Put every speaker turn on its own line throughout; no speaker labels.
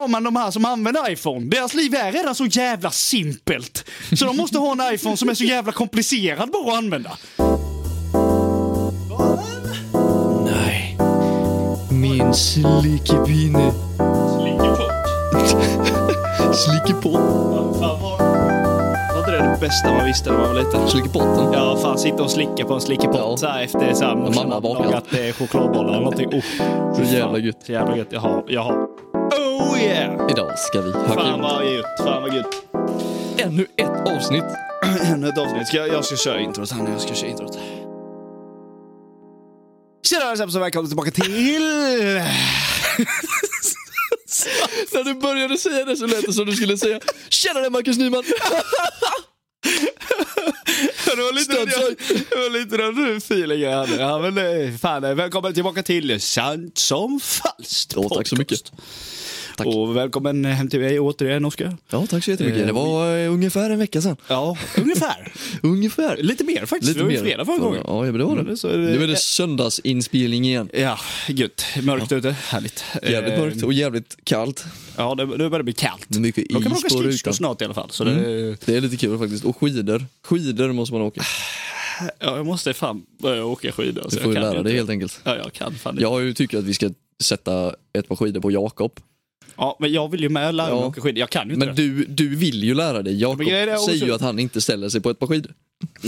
har man de här som använder iPhone? Deras liv är redan så jävla simpelt. Så de måste ha en iPhone som är så jävla komplicerad bara att använda.
Nej. Min slickepinne. Slickepott.
Var inte det det bästa man visste när man var liten?
Slickepotten.
Ja, fan sitta och slicka på en slickepott
Ja.
så här efter så här, morsan
mamma
har
bakar.
lagat eh, chokladbollar eller någonting. Oh,
Så
fy
jävla
fan.
gött.
Så jävla gött. Jaha, jaha. Oh yeah!
Idag ska vi hacka
Fan
in
vad gött, fan vad gött.
ännu ett avsnitt.
Ännu ett avsnitt. Ska, jag- jag ska köra introt här nu. Jag ska köra introt. Tjena allesammans och välkomna tillbaka till...
När du började säga det så lät det som du skulle säga Tjenare Marcus Nyman!
Det var lite den, jag, det var lite den feelingen jag hade. Ja, men, eh, fan, eh, välkommen tillbaka till Sant som falskt
Ja, tack så mycket. Tack.
Och välkommen hem till mig återigen, Oskar.
Ja, tack så jättemycket. Det var eh, ungefär en vecka sedan.
Ja, ungefär.
Ungefär.
Lite mer faktiskt. Lite det var ju fredag förra gången.
Ja, ja, men det var det.
Mm, så är det-
Nu är det söndagsinspelning igen.
Ja, gött. Mörkt ute. Härligt.
Jävligt
Eh,
mörkt och jävligt kallt.
Ja, det, nu börjar det bli kallt.
Det är mycket
Då kan man
is
åka
på
skridskor
rutan.
snart i alla fall. Så det,
Mm. Det är lite kul faktiskt. Och skidor. Skidor måste man
Ah,
åka.
ja, jag måste fan börja åka skidor. så
Du
jag
får ju
kan
lära
inte.
dig helt enkelt.
Ja, jag kan fan inte.
Jag har ju tycker att vi ska sätta ett par skidor på Jakob.
Ja, men jag vill ju med lära mig
Ja.
åka skidor. Jag kan ju inte
Men du, du vill ju lära dig. Jakob
Men grejen är också-
säger ju att han inte ställer sig på ett par skidor.
det.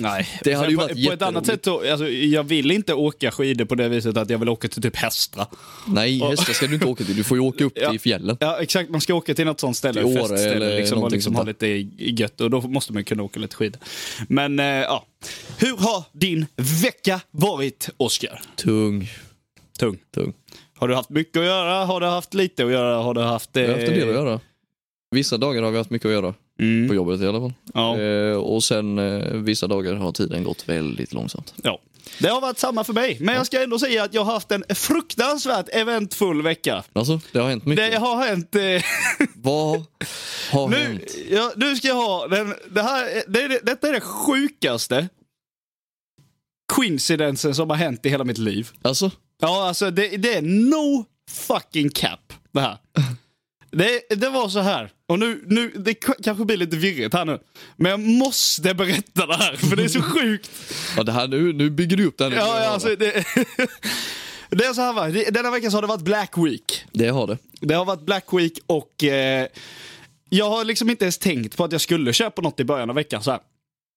Nej.
det hade
Sen
ju
på,
varit
på ett annat
jätteroligt.
sätt så, alltså, jag vill inte åka skidor på det viset att jag vill åka till typ Hästra.
Nej, hästar ska du inte åka till. Du får ju åka upp
Ja.
till fjällen.
Ja, exakt. Man ska åka till något sånt ställe,
Till Åre
festställe,
eller
liksom, och
någonting
liksom ha
sånt
lite gött. Och då måste man kunna åka lite skidor. Men eh, ja. Hur har din vecka varit, Oskar?
Tung,
Tung.
tung.
Har du haft mycket att göra? Har du haft lite att göra? Har du haft... Eh...
Vi har haft en del att göra. Vissa dagar har vi haft mycket att göra. På
Mm.
jobbet i alla fall.
Ja.
Eh, och sen eh, vissa dagar har tiden gått väldigt långsamt.
Ja. Det har varit samma för mig, men jag ska ändå säga att jag har haft en fruktansvärt eventfull vecka.
Alltså, det har hänt mycket.
Det har hänt... Eh,
Vad har
nu,
hänt?
ja, nu ska jag ha den... Det här, är- det, är det, detta är det sjukaste coincidensen som har hänt i hela mitt liv.
Alltså,
Ja, alltså det, det är no fucking cap det här. Det, det var så här, och nu, nu, det k- kanske blir lite virrigt här nu, men jag måste berätta det här för det är så sjukt.
ja, det här, nu, nu bygger du upp det här. nu.
Ja, ja, alltså, det, det är så här va, Det- denna veckan så har det varit Black Week.
Det har det.
Det har varit Black Week och eh, jag har liksom inte ens tänkt på att jag skulle köpa något i början av veckan så här.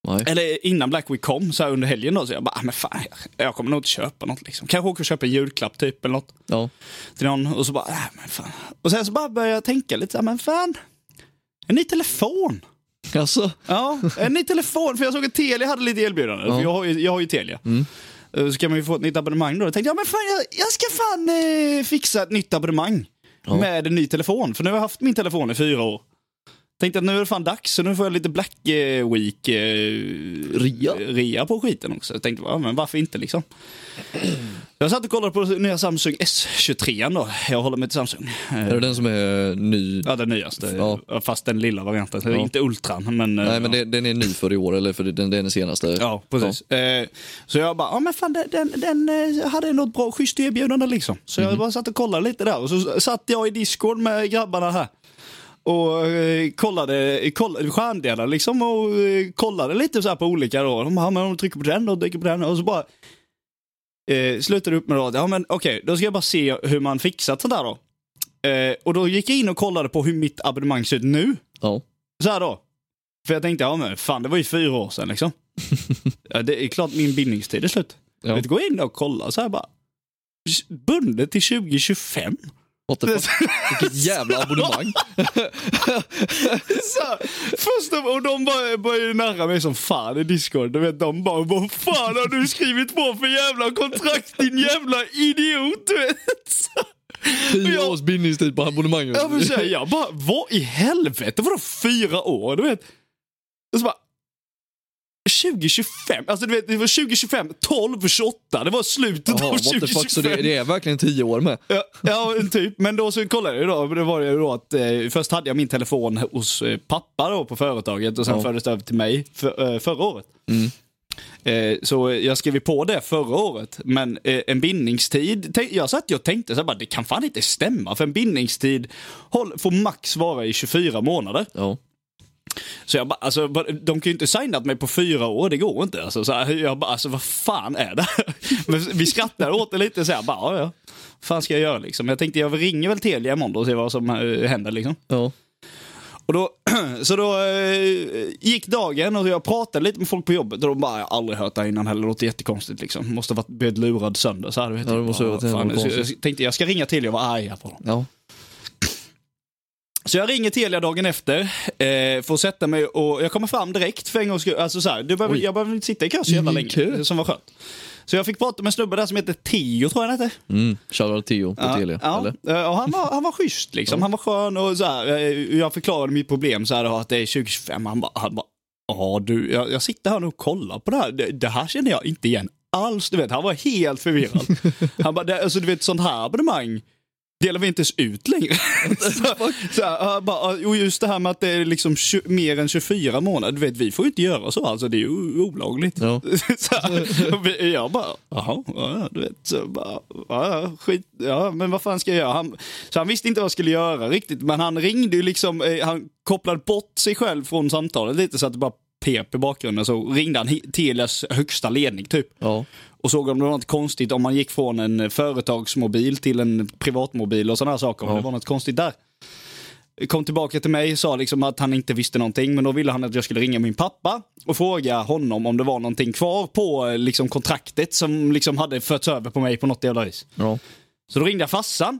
Nej.
Eller innan Black Week kom så här under helgen då, så jag bara, ah, men fan, jag, jag kommer nog inte köpa något liksom. Kanske åka och köpa en julklapp typ eller något.
Ja.
till någon och så bara, äh, men fan. Och sen så bara började jag tänka lite, så här, men fan, en ny telefon.
Alltså,
Ja, en ny telefon, för jag såg att Telia hade lite erbjudande. För jag, har ju, jag har ju Telia.
Mm.
Eh, Så kan man ju få ett nytt abonnemang då. Jag tänkte, ja men fan, jag, jag ska fan eh, fixa ett nytt abonnemang med en ny telefon. För nu har jag haft min telefon i fyra år. Tänkte att nu är det fan dags, så nu får jag lite Black eh, Week eh,
Ria.
rea på skiten också. Jag tänkte, ja, men varför inte liksom? Jag satt och kollade på nya Samsung S23 då. Jag håller mig till Samsung. Eh,
Är det den som är ny?
Ja, den nyaste.
Ja.
Fast den lilla varianten.
Ja.
Inte ultran, men... eh,
Nej, men det, den är ny för i år, eller för den, det är den senaste.
Ja, precis. Eh, så jag bara, ja men fan den, den, den eh, hade något bra, schysst erbjudande liksom. Så jag bara satt och kollade lite där och så satt jag i Discord med grabbarna här. Och eh, kollade, kollade stjärndelar liksom och eh, kollade lite så här på olika då. De bara, ja, men de trycker på den och trycker på den och så bara eh, slutade upp med då, att, ja men okej, då ska jag bara se hur man fixat sånt där då. Eh, och då gick jag in och kollade på hur mitt abonnemang ser ut nu.
Ja.
Så här då. För jag tänkte, ja men fan det var ju fyra år sedan liksom. ja, det är klart min bindningstid är slut.
Ja.
Vet du, gå in och kolla så här bara. Bundet till 2025.
What the fuck? Vilket jävla abonnemang.
Så här, först av, och de bara började ju narra mig som fan i Discord. Du vet, de bara, vad fan har du skrivit på för jävla kontrakt din jävla idiot? Du vet. Så här.
Fyra
jag-
års bindningstid på abonnemanget.
Jag vill säga, jag bara, vad i helvete? Vadå fyra år? Du vet. Och så bara, 2025, alltså du vet, det var 2025, 12, 28, det var slutet
Jaha,
av
what the fuck, så det,
2025.
det är verkligen tio år med?
Ja, ja, typ. Men då så kollade jag då, men det var det ju då att eh, först hade jag min telefon hos eh, pappa då på företaget och sen
Ja.
fördes det över till mig för, eh, förra året. Eh, Så jag skrev ju på det förra året, men eh, en bindningstid, tänk- jag satt ju och tänkte så här bara, det kan fan inte stämma för en bindningstid håll- får max vara i 24 månader.
Ja.
Så jag bara, alltså, bara- de kan ju inte signat mig på fyra år, det går inte. Alltså, så här, jag bara, alltså vad fan är det? Men vi skrattar åt det lite så här, bara, ja, ja. Vad fan ska jag göra liksom? Jag tänkte jag ringer väl Telia imorgon då och ser vad som eh, händer liksom.
ja.
Och då, så då eh, gick dagen och jag pratade lite med folk på jobbet och de bara, jag har aldrig hört det här innan heller, det låter jättekonstigt liksom. Måste ha varit blivit lurad sönder så här, du vet.
Ja, det måste ha
Bara,
varit jävla
fan. så
konstigt.
jag tänkte jag ska ringa Telia och vara arga på dem.
ja.
Så jag ringer Telia dagen efter, eh, får sätta mig och jag kommer fram direkt för en gångs skull. Alltså så här, du behöver,
Oj. Mm,
jag behöver inte sitta i kö så jävla
I
länge,
kö?
som var skönt. Så jag fick prata med en snubbe där som heter Tio, tror jag han hette.
Mm. Shoutout Tio på
Ja,
Telia.
ja.
Eller?
Eh, Och han, var, han var schysst liksom. Han var skön och så här, eh, Jag förklarade mitt problem så här att det är 2025. Han bara, han bara ja du, jag, jag sitter här nu och kollar på det här. Det, det här känner jag inte igen alls. Du vet, han var helt förvirrad. han bara, det, alltså du vet sånt här abonnemang delar vi inte ens ut längre. så, så här, han bara, och just det här med att det är liksom tju- mer än 24 månader. Du vet, vi får ju inte göra så alltså. Det är ju o- olagligt.
Ja.
Så här, och vi- jag bara, jaha, ja, du vet. Så bara, ja, ja, skit, ja, men vad fan ska jag göra? Han, så han visste inte vad jag skulle göra riktigt, men han ringde ju liksom, eh, han kopplade bort sig själv från samtalet lite så att det bara pep i bakgrunden. Så ringde han hi- Telias högsta ledning typ
Ja.
och såg om det var något konstigt om man gick från en eh, företagsmobil till en privatmobil och sådana här saker. Om
Ja.
det var något konstigt där. Kom tillbaka till mig sa liksom att han inte visste någonting men då ville han att jag skulle ringa min pappa och fråga honom om det var någonting kvar på eh, liksom, kontraktet som liksom hade förts över på mig på något jävla vis.
Ja.
Så då ringde jag farsan.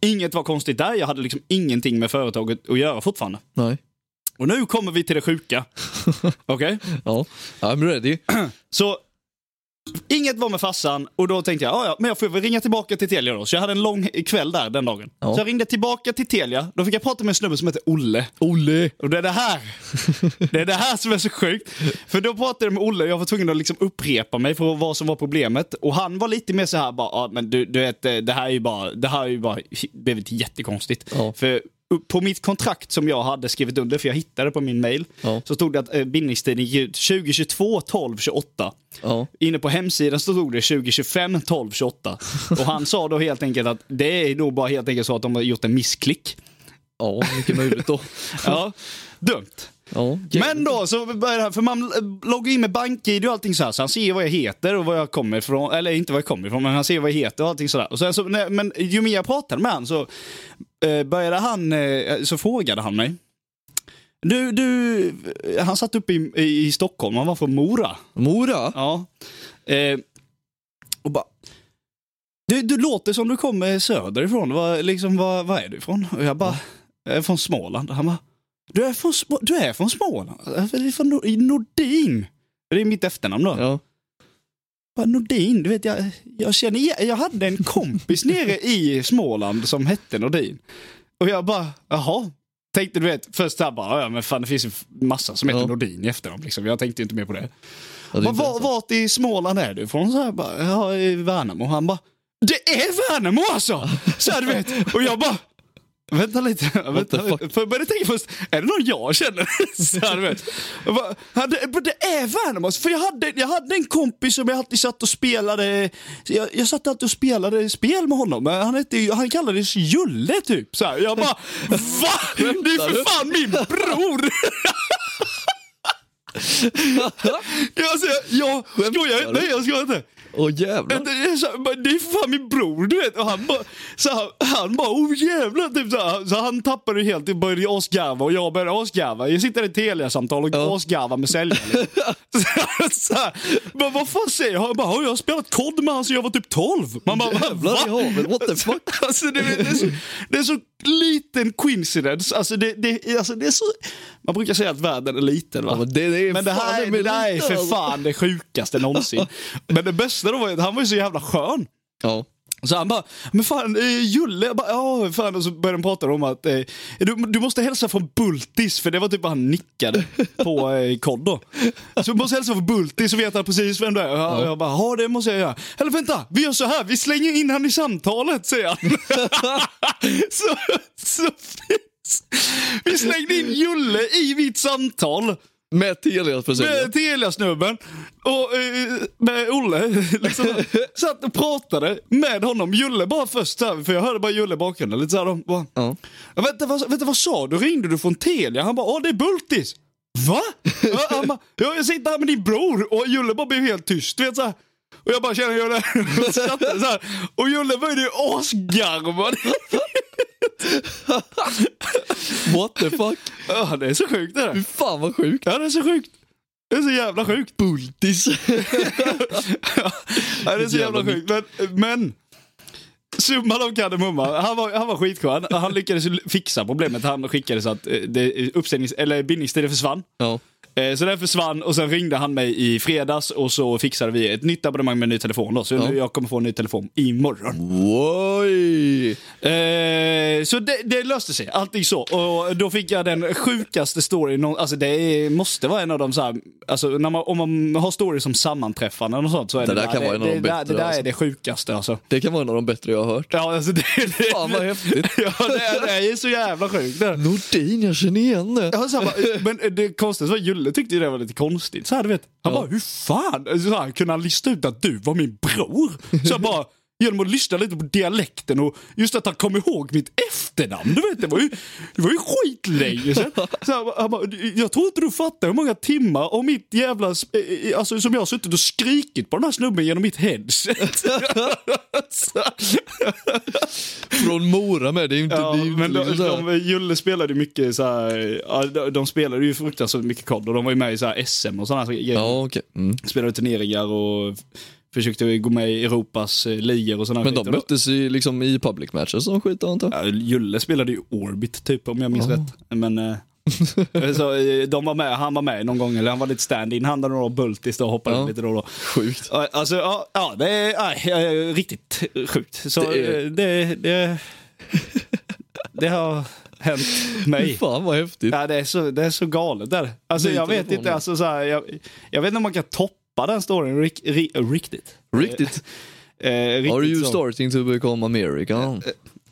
Inget var konstigt där, jag hade liksom ingenting med företaget att göra fortfarande.
Nej.
Och nu kommer vi till det sjuka. Okej?
Ja. I'm ready.
Så inget var med farsan och då tänkte jag, "Ah, "Ja, ja, men jag får väl ringa tillbaka till Telia då. Så jag hade en lång kväll där den dagen.
Ja.
Så jag ringde tillbaka till Telia, då fick jag prata med en snubbe som hette Olle.
Olle!
Och det är det här Det är det här som är så sjukt. För då pratade jag med Olle och jag var tvungen att liksom upprepa mig för vad som var problemet. Och han var lite mer så här bara, ah, men du, du vet, eh, det här är ju bara, det här är ju bara blivit jättekonstigt.
Ja.
För upp- på mitt kontrakt som jag hade skrivit under, för jag hittade på min mail,
Ja.
så stod det att eh, bindningstiden gick ut 2022 12 28.
Ja.
Inne på hemsidan så stod det 2025 12 28. Och han sa då helt enkelt att det är nog bara helt enkelt så att de har gjort en missklick.
Ja, mycket möjligt då.
Ja, dumt.
Ja.
Men då, så börjar det här, för man eh, loggar in med bank-id och allting så här, så han ser vad jag heter och var jag kommer ifrån, eller inte var jag kommer ifrån, men han ser vad jag heter och allting sådär. Och sen så, nej, men ju mer jag pratade med han så eh, började han, eh, så frågade han mig. Du, du, han satt uppe i, i Stockholm, han var från Mora.
Mora?
Ja. Eh, och bara... Du, du låter som du kommer söderifrån. Vad, liksom, vad, vad är du ifrån? Och jag bara... Jag är från Småland. Han bara... Du är från, Små- du är från Småland? Jag är från Nor- i Nordin. Det är mitt efternamn då. Jag
Ja.
Bara, Nordin, du vet jag, jag känner igen- Jag hade en kompis nere i Småland som hette Nordin. Och jag bara, jaha. Tänkte du vet, först där bara, ja men fan det finns ju massa som heter
Ja.
Nordin i efternamn liksom. Jag tänkte inte mer på det.
ja det är
Var,
inte
var,
ens-
vart i Småland är du ifrån? Så här, bara, ja, i Värnamo. Han bara, det är Värnamo alltså! Så här, du vet. Och jag bara, vänta lite. Vänta,
the
lite. För jag började tänka först, är det någon jag känner? Så här, du vet. Jag bara, "Ja, det, men det är Värnamo alltså. För jag hade, jag hade en kompis som jag alltid satt och spelade, jag, jag satt alltid och spelade spel med honom. Men Han, hette, ju- han kallades Julle typ. Så här. Jag bara, va? Det är för fan min bror! Jag, alltså, jag, jag skojar inte, nej jag skojar inte.
Åh jävlar.
Det är, så, men det är fan min bror du vet. Och han bara, så han, han bara oh jävlar. Typ så, här. så han tappade ju helt och började asgarva och jag började asgarva. Jag sitter i ett Telia-samtal och
Ja.
asgarvar med säljaren. så, så här. Men vad fan säger han? Jag bara, "Ja, jag har spelat kod med han sen jag var typ 12. Man bara,
Jävlar i
va?
havet, what the fuck?
Alltså, det, det, är så, det är så liten coincidence. Alltså, det, det, alltså, det är så, man brukar säga att världen är liten. Va?
Ja, men det, det är
Men det
fan
här,
med
det här är
lite,
för
alltså.
fan det sjukaste någonsin. Men det bästa då var ju att han var ju så jävla skön.
Ja.
Så han bara, men fan eh, Julle, jag bara, ja fan. Och så började de prata om att eh, du, du måste hälsa från Bultis, för det var typ vad han nickade på eh, kod då. Så du måste hälsa från Bultis så vet han precis vem det är. Och jag, jag bara, ja det måste jag göra. Eller vänta, vi gör så här, vi slänger in han i samtalet säger han. så, så, vi slängde in Julle i mitt samtal.
Med Telias försäljare.
Med Telia-snubben och eh, med Olle. Liksom, satt och pratade med honom. Julle bara först, så här, för jag hörde bara Julle i bakgrunden. Lite så här, de bara,
Ja.
Ja, vänta, vad, vänta, vad sa du? Ringde du från Telia? Han bara, åh det är Bultis. Va? Ja, han bara, ja, jag sitter här med din bror. Och Julle bara blev helt tyst. Du vet, så här. Och jag bara känner Julle och skrattade så här. Och Julle började ju asgarvad.
What the fuck?
Ja, det är så sjukt det
Fy
där.
fan vad sjukt.
Ja, det är så sjukt. Det är så jävla sjukt.
Bultis.
Ja, det är så jävla sjukt. Men, men summan av kardemumma. Han var, han var skitskön. Han lyckades ju fixa problemet. Han skickade så att eh, det, uppsägnings, eller bindningstiden försvann.
Ja.
Eh, Så den försvann och sen ringde han mig i fredags och så fixade vi ett nytt abonnemang med en ny telefon. Då. Så
Ja.
nu jag kommer få en ny telefon imorgon.
Oj!
Eh, så det, det löste sig, allting så. Och då fick jag den sjukaste storyn. någon- Alltså det är, måste vara en av de så här, alltså när man, om man har stories som sammanträffanden och sånt så är det
Det där kan
det,
vara en av
det,
de
det, där-
bättre,
det där
alltså.
är det sjukaste alltså.
Det kan vara en av de bättre jag har hört.
Ja, alltså det, det,
Fan vad häftigt.
ja, det, är- det är så jävla sjukt. Det.
Nordin, jag känner igen det.
Ja, så här, bara, men eh, det konstigaste var att Julle tyckte ju det var lite konstigt. Så här, du vet. Han
Ja.
bara, hur fan Alltså, så här, kunde han lista ut att du var min bror? Så jag bara, genom att lyssna lite på dialekten och just att han kom ihåg mitt efternamn. Du vet, det var ju, det var ju skitlänge sedan. Så här, han bara, jag tror inte du fattar hur många timmar om mitt jävla, sp- eh, eh, alltså som jag har suttit och skrikit på den här snubben genom mitt headset. Så-
Från Mora med. Det är ju inte...
Ja,
det är ju inte
men de,
liksom så här-
de, Julle spelade ju mycket så här, ja, de, de spelade ju fruktansvärt mycket kod och de var ju med i så här SM och sådana grejer.
Ja, okej. Mm.
Spelade turneringar och f- försökte gå med i Europas eh, ligor och sådana
Men de möttes ju liksom i public matches som skit antar jag.
Ja, Julle spelade ju Orbit typ om jag minns
Ja.
rätt. Men eh, så, eh, de var med, han var med någon gång, eller han var lite stand-in, han hade några bultis då och hoppade
Ja.
lite då och då.
Sjukt.
Ja, Alltså, ja, ja det är aj, eh, riktigt sjukt. Så
Det är-
eh, det, det, det har hänt mig.
Fan vad häftigt.
Ja, det, är så, det är så galet där. Alltså,
Ny
jag vet
telefon,
inte
ja.
alltså, så här, jag, jag vet inte om man kan toppa den storyn rik, ri, äh, riktigt.
Riktigt.
Eh, riktigt
Are you
så.
starting to become American?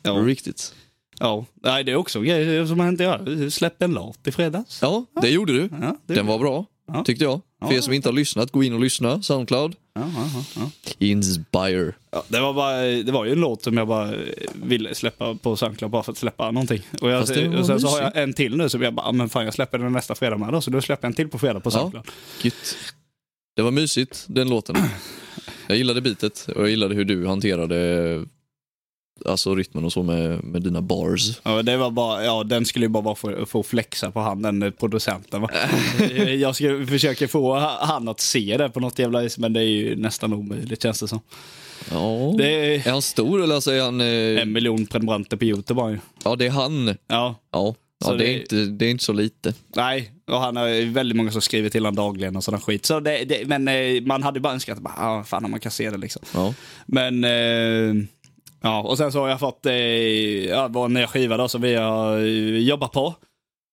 Ja.
Riktigt.
Ja. Nej, det är också grejer som har hänt. Jag släppte en låt i fredags.
Ja, det gjorde du.
Ja, det,
Den var bra,
Ja.
tyckte jag. För er som inte har lyssnat, gå in och lyssna. Soundcloud.
ja, ja, ja.
Inspire.
Ja, det, var bara, det var ju en låt som jag bara ville släppa på Soundcloud bara för att släppa någonting. Och, jag,
Fast det var
och sen så har
mysigt.
jag en till nu som jag bara, ah, men fan jag släpper den nästa fredag med då. Så då släpper jag en till på fredag på
Ja.
Soundcloud.
Gött. Det var mysigt, den låten. Jag gillade bitet och jag gillade hur du hanterade alltså rytmen och så med, med dina bars.
Ja, det var bara, ja, den skulle ju bara vara för, för att flexa på han, den eh, producenten. Va? Jag ska försöka få ha- han att se det på något jävla vis, men det är ju nästan omöjligt känns det som.
Ja.
Det är
Är han stor eller alltså är han... eh,
en miljon prenumeranter på YouTube bara ju.
Ja, det är han.
Ja,
Ja, ja
Så
det,
det-
Är inte, det är inte så lite.
nej, och han har ju väldigt många som skriver till honom dagligen och sådana skit. Så det, det, men eh, man hade ju bara önskat, bara, ah, fan om man kan se det liksom.
Ja.
Men, eh, ja, och sen så har jag fått eh, ja, vår nya skiva då som vi har eh, jobbat på.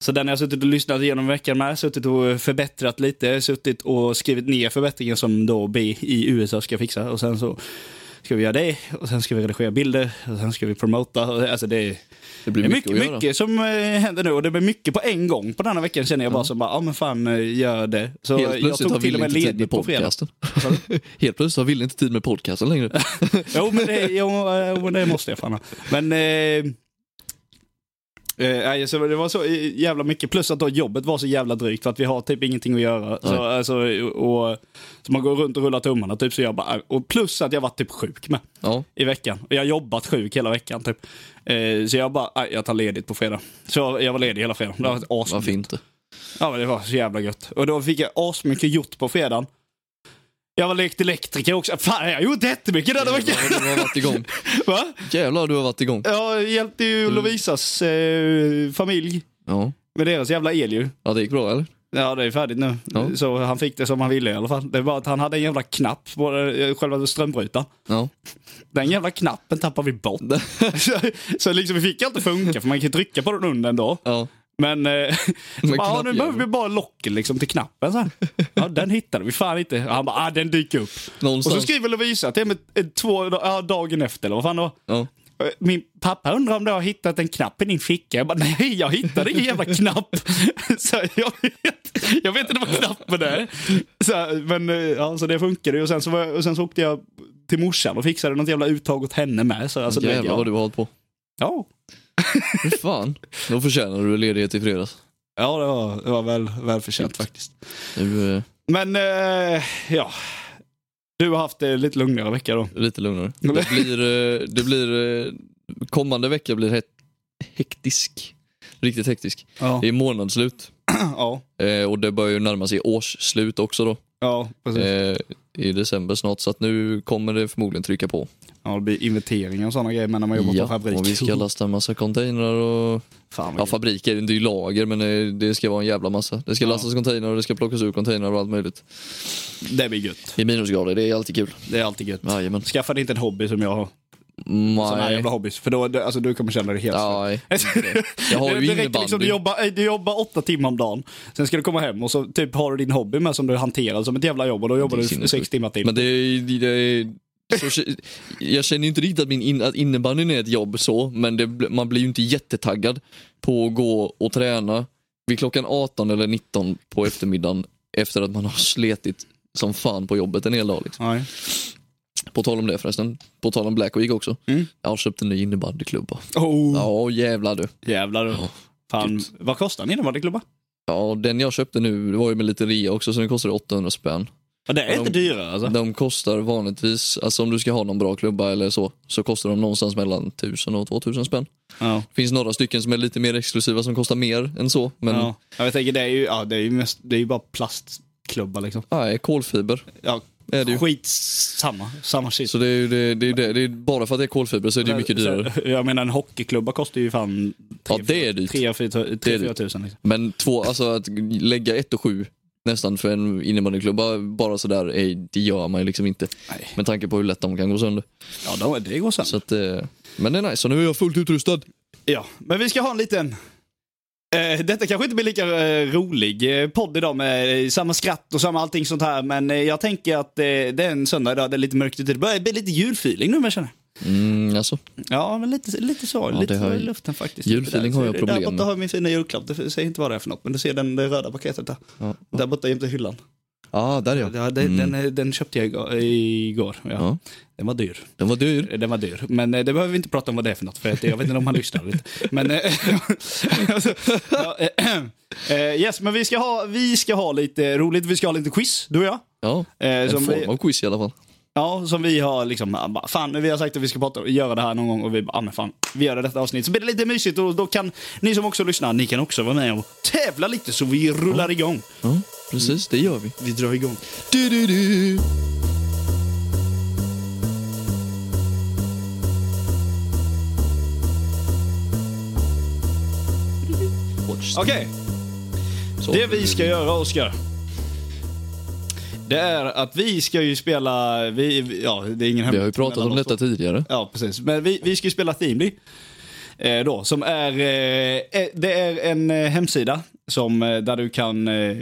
Så den har jag suttit och lyssnat igenom veckan med, suttit och förbättrat lite, suttit och skrivit ner förbättringen som då B i USA ska fixa. Och sen så ska vi göra det, och sen ska vi redigera bilder, och sen ska vi promota. Och, Alltså det är
Det blir
det är
mycket,
mycket,
att göra.
mycket som eh, händer nu och det blir mycket på en gång på denna veckan känner jag bara som bara, ja men fan eh, gör det. Så
Helt
jag
plötsligt
tog
har
till och
Wille
med
inte tid
ledigt
med
på fredag.
podcasten.
Vad sa
Helt plötsligt har Wille inte tid med podcasten längre.
Jo, men det, jo, eh, men det måste jag fan ha. Men... Eh, Eh, nej, så det var så eh, jävla mycket, plus att då jobbet var så jävla drygt för att vi har typ ingenting att göra. Så,
Nej.
alltså, och, så man går runt och rullar tummarna typ. Så jag bara, och plus att jag varit typ sjuk med
Ja,
i veckan. Och jag har jobbat sjuk hela veckan typ. Eh, så jag bara, nej, jag tar ledigt på fredag. Så jag, jag var ledig hela fredagen. Det var asgött.
varför inte?
Ja men det var så jävla gött. Och då fick jag asmycket gjort på fredagen. Jag var lekt elektriker också. Fan, jag har gjort jättemycket denna veckan.
Jävlar, du har varit igång.
Va?
Jävlar, du har varit igång.
Jag hjälpte ju Lovisas eh, familj
Ja.
med deras jävla el ju.
ja, det gick bra eller?
Ja, det är färdigt nu.
Ja.
Så han fick det som han ville i alla fall. Det var att han hade en jävla knapp på eh, själva strömbrytaren.
Ja.
Den jävla knappen tappade vi bort. så, så liksom vi fick alltid funka, för man kan ju trycka på den under ändå.
ja.
Men, eh, så bara, ja, nu
knappjäveln."
behöver vi bara locken liksom till knappen. Så här. Ja, den hittade vi fan inte. Och Han bara, ah, den dyker upp. Och
Någonstans.
så skriver Lovisa till mig eh, två ja, dagen efter, eller vad fan det var.
ja.
Eh, Min pappa undrar om du har hittat en knapp i din ficka. Jag bara, nej jag hittade ingen jävla knapp. Så jag vet.
Jag vet inte vad knappen är.
Så, här, men eh, ja, så det funkade ju. Och sen så, var jag, och sen så åkte jag till morsan och fixade något jävla uttag åt henne med. Så, alltså, det-
Jävlar vad
ja.
du har hållit på.
Ja.
Fy fan. Då förtjänar du ledighet i fredags.
ja, det var, det var väl, välförtjänt faktiskt.
Nu eh,
Men eh, ja, du har haft det lite lugnare vecka då.
lite lugnare. Det blir, eh, det blir, eh, kommande vecka blir het, hektisk. Riktigt hektisk.
Ja,
Det är månadsslut
ja,
eh, och det börjar ju närma sig årsslut också då.
ja precis.
Eh, I december snart så att nu kommer det förmodligen trycka på.
Ja, det blir inventeringar och sådana grejer men när man jobbar på fabrik.
och vi ska lasta en massa containrar och...
Fan,
Ja
vad grymt.
fabriker, det är ju lager men eh, det ska vara en jävla massa. Det ska
Ja.
lastas containrar och det ska plockas ur containrar och allt möjligt.
det blir gött.
I minusgrader, det är alltid kul.
Det är alltid gött.
Jajamän.
Skaffa dig inte en hobby som jag har. Sådana här
Nej.
jävla hobbys. För då, då- alltså, du kommer känna dig helt slut.
Nej. Jag har
det,
ju
det räcker liksom, du,
innebandy.
jobbar, eh, du jobbar åtta timmar om dagen, sen ska du komma hem och så typ har du din hobby med som du hanterar som ett jävla jobb och då jobbar
Det är
du sex
sinnessjukt.
timmar till.
Men det är... Det är så, jag känner ju inte riktigt att, min in, att innebandyn är ett jobb så, men det, bl- man blir ju inte jättetaggad på att gå och träna vid klockan 18 eller 19 på eftermiddagen efter att man har sletit som fan på jobbet en hel dag. Liksom.
Nej.
På tal om det förresten, på tal om Black Week också.
Mm.
Jag har köpt en ny innebandyklubba.
Oh,
Ja jävlar du.
Jävlar du. Fan, vad kostar en innebandyklubba?
Ja, den jag köpte nu det var ju med lite rea också så den kostade 800 spänn.
Ja, det är
Ja,
inte
de-
dyrare alltså.
De kostar vanligtvis, alltså om du ska ha någon bra klubba eller så, så kostar de någonstans mellan 1000 och 2000 spänn.
Ja.
Det finns några stycken som är lite mer exklusiva som kostar mer än så, men
Ja. Ja, jag tänker det är ju, ja, det är ju, mest, det är ju bara plastklubba liksom.
nej, kolfiber
Ja,
är det ju.
skitsamma. Samma shit.
Så det är ju det, det, är ju det, det är bara för att det är kolfiber så är det ju mycket
Så-
dyrare.
Jag menar en hockeyklubba kostar ju fan
Ja, det är dyrt.
3-4
dyrt.
tusen. Liksom.
Men två, alltså att lägga 1 och 7 nästan för en innebandyklubba bara sådär, ej, det gör man ju liksom inte.
Nej.
Med tanke på hur lätt de kan gå sönder.
Ja, då, det går sen.
Så att, eh, men det är nice, så nu är jag fullt utrustad.
Ja, men vi ska ha en liten... Eh, detta kanske inte blir lika eh, rolig eh, podd idag med eh, samma skratt och samma allting sånt här. Men eh, jag tänker att eh, det är en söndag idag, det är lite mörkt ute. Det börjar bli lite julfeeling nu men jag känner.
Mm, alltså.
Ja, men lite, lite så.
Ja,
lite
det har
så i
jag-
luften faktiskt.
julfeeling
Där,
har jag
ser-
problem
Där borta
med.
har jag min fina julklapp. Det säger inte vad det är för något, men du ser den, det röda paketet där.
Ja,
Där borta jämte hyllan.
ah, där ja.
Ja, det, den, eh, den köpte jag igår. igår ja.
Ja.
Den var dyr.
Den var dyr.
Den var dyr, men eh, det behöver vi inte prata om vad det är för något, för att jag vet inte om han lyssnar. eller inte. Men, eh, alltså, ja, eh, eh, yes, men vi ska, ha, vi ska ha lite roligt, vi ska ha lite quiz, du och jag.
Ja,
Eh,
en
som,
form
vi,
av quiz i alla fall.
ja, som vi har liksom, ah, bara, fan vi har sagt att vi ska prata, göra det här någon gång och vi bara, ah, men fan, vi gör det detta avsnitt. Så blir det lite mysigt och då kan ni som också lyssnar, ni kan också vara med och tävla lite så vi rullar igång.
Ja, precis, det gör vi.
Vi drar igång.
Du, du, du. Watch the-
Okej,
Så.
det vi ska göra Oskar. Det är att vi ska ju spela, vi, vi- ja det är ingen
Vi har ju
hemlighet
pratat om
mellan oss
detta
då.
tidigare.
Ja precis, men vi, vi ska ju spela Themely. Eh, då, som är, eh, eh, det är en eh, hemsida som, eh, där du kan, eh,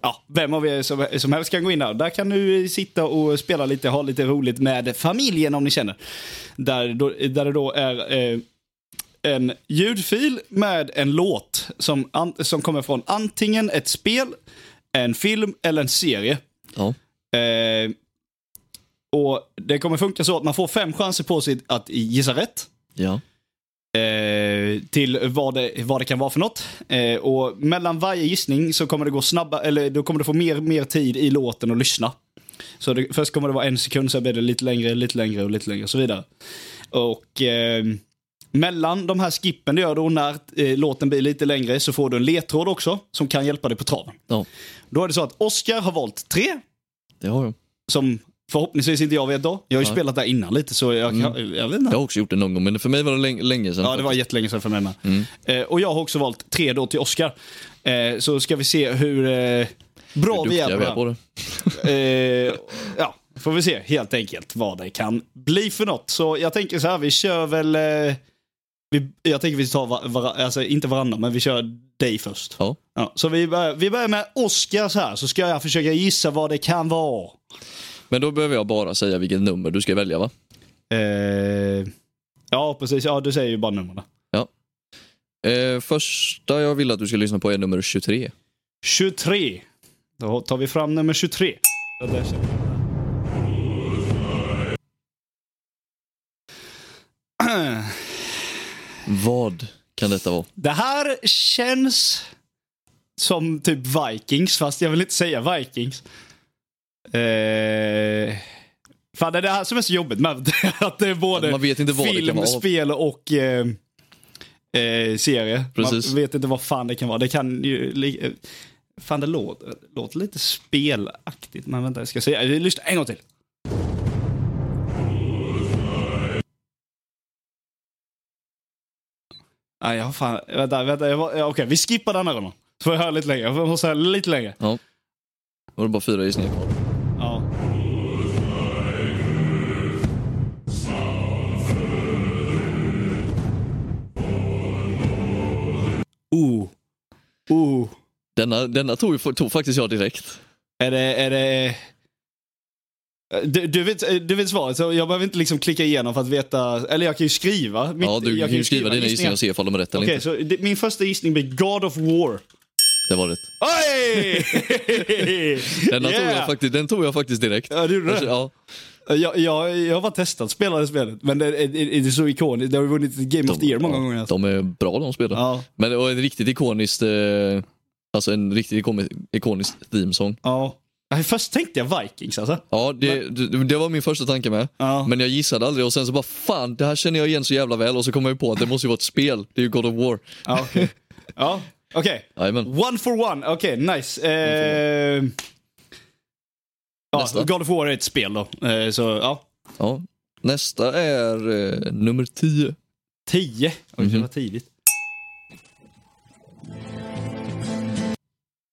ja vem av er som, som helst kan gå in där. Där kan du eh, sitta och spela lite, ha lite roligt med familjen om ni känner. Där, då, där det då är eh, en ljudfil med en låt som, an, som kommer från antingen ett spel, en film eller en serie.
Ja.
Eh, och Det kommer funka så att man får fem chanser på sig att gissa rätt.
Ja.
Eh, till vad det, vad det kan vara för något. Eh, och mellan varje gissning så kommer det gå snabba, eller då kommer du få mer, mer tid i låten att lyssna. Så det, först kommer det vara en sekund, sen blir det lite längre, lite längre och lite längre och så vidare. Och eh, mellan de här skippen du gör då, när eh, låten blir lite längre, så får du en ledtråd också som kan hjälpa dig på traven.
ja,
Då är det så att Oscar har valt tre
det har jag.
som förhoppningsvis inte jag vet då. Jag har ju
Nej.
spelat där innan lite så jag, kan, jag vet inte.
Jag har också gjort det någon gång, men för mig var det länge, länge sedan.
Ja, det var jättelänge sedan för mig med. Eh, och jag har också valt tre då till Oscar. Eh, så ska vi se hur eh, bra vi
Duktiga
är på, det.
det.
Eh, ja, får vi se helt enkelt vad det kan bli för något. Så jag tänker så här, vi kör väl... Eh, vi, jag tänker vi tar var, var, alltså inte varannan, men vi kör dig först.
Ja.
Ja, så vi börjar, vi börjar med Oscar så här, så ska jag försöka gissa vad det kan vara.
Men då behöver jag bara säga vilket nummer du ska välja va?
Eh, ja, precis. Ja, du säger ju bara numren.
Eh, första jag vill att du ska lyssna på är nummer 23.
23. Då tar vi fram nummer 23.
Vad kan detta vara?
Det här känns som typ Vikings, fast jag vill inte säga Vikings. Eh, fan, det är det här som är så jobbigt med att det är både
Man vet inte vad det kan
film,
vara.
spel och eh, eh, serie.
Precis.
Man vet inte vad fan det kan vara. Det kan ju... li- eh, Fan, det låter, låter lite spelaktigt. Men vänta, jag ska säga. Vi lyssnar en gång till. Nej, jag har fan... Vänta, vänta. Jag var, ja, okej, vi skippar den här rundan. Så får jag höra lite längre. Jag måste höra lite längre.
Ja. Var det bara fyra gissningar kvar?
Ja. Oh. Oh.
Denna, denna tog, ju- tog faktiskt jag direkt.
Är det... Är det... eh, Du, du, vet, du vet svaret, så jag behöver inte liksom klicka igenom för att veta. Eller jag kan ju skriva. mitt-
ja, du
jag
kan ju skriva dina gissningar och
gissningar.
se ifall de är rätt eller
Okej,
inte.
så det, min första gissning blir God of War.
Det var rätt.
Oj!
Denna tog jag
yeah!
faktiskt, den tog jag faktiskt direkt.
Ja, du gjorde det?
Ja,
Eh, Jag, jag, jag har bara testat spela det spelet, men det, det, det är så ikoniskt. Det har ju vunnit Game of the Year många
ja,
gånger. Alltså.
De är bra de spelar.
Ja,
Men det var ett riktigt ikoniskt, eh, alltså en riktigt ikoni- ikonisk themesång.
ja. Nej, Först tänkte jag Vikings alltså.
Ja, det, det, det var min första tanke med.
Ja.
Men jag gissade aldrig och sen så bara fan, det här känner jag igen så jävla väl och så kom jag ju på att det måste ju vara ett spel. Det är ju God of War.
Ja, okej. Ja, okej.
Jajamän.
One for one, okej, nice. Eh, ja,
Nästa.
God of War är ett spel då. Eh, så ja,
Ja. Nästa är eh, nummer 10.
10. Oj,
Mhm.
det var tidigt.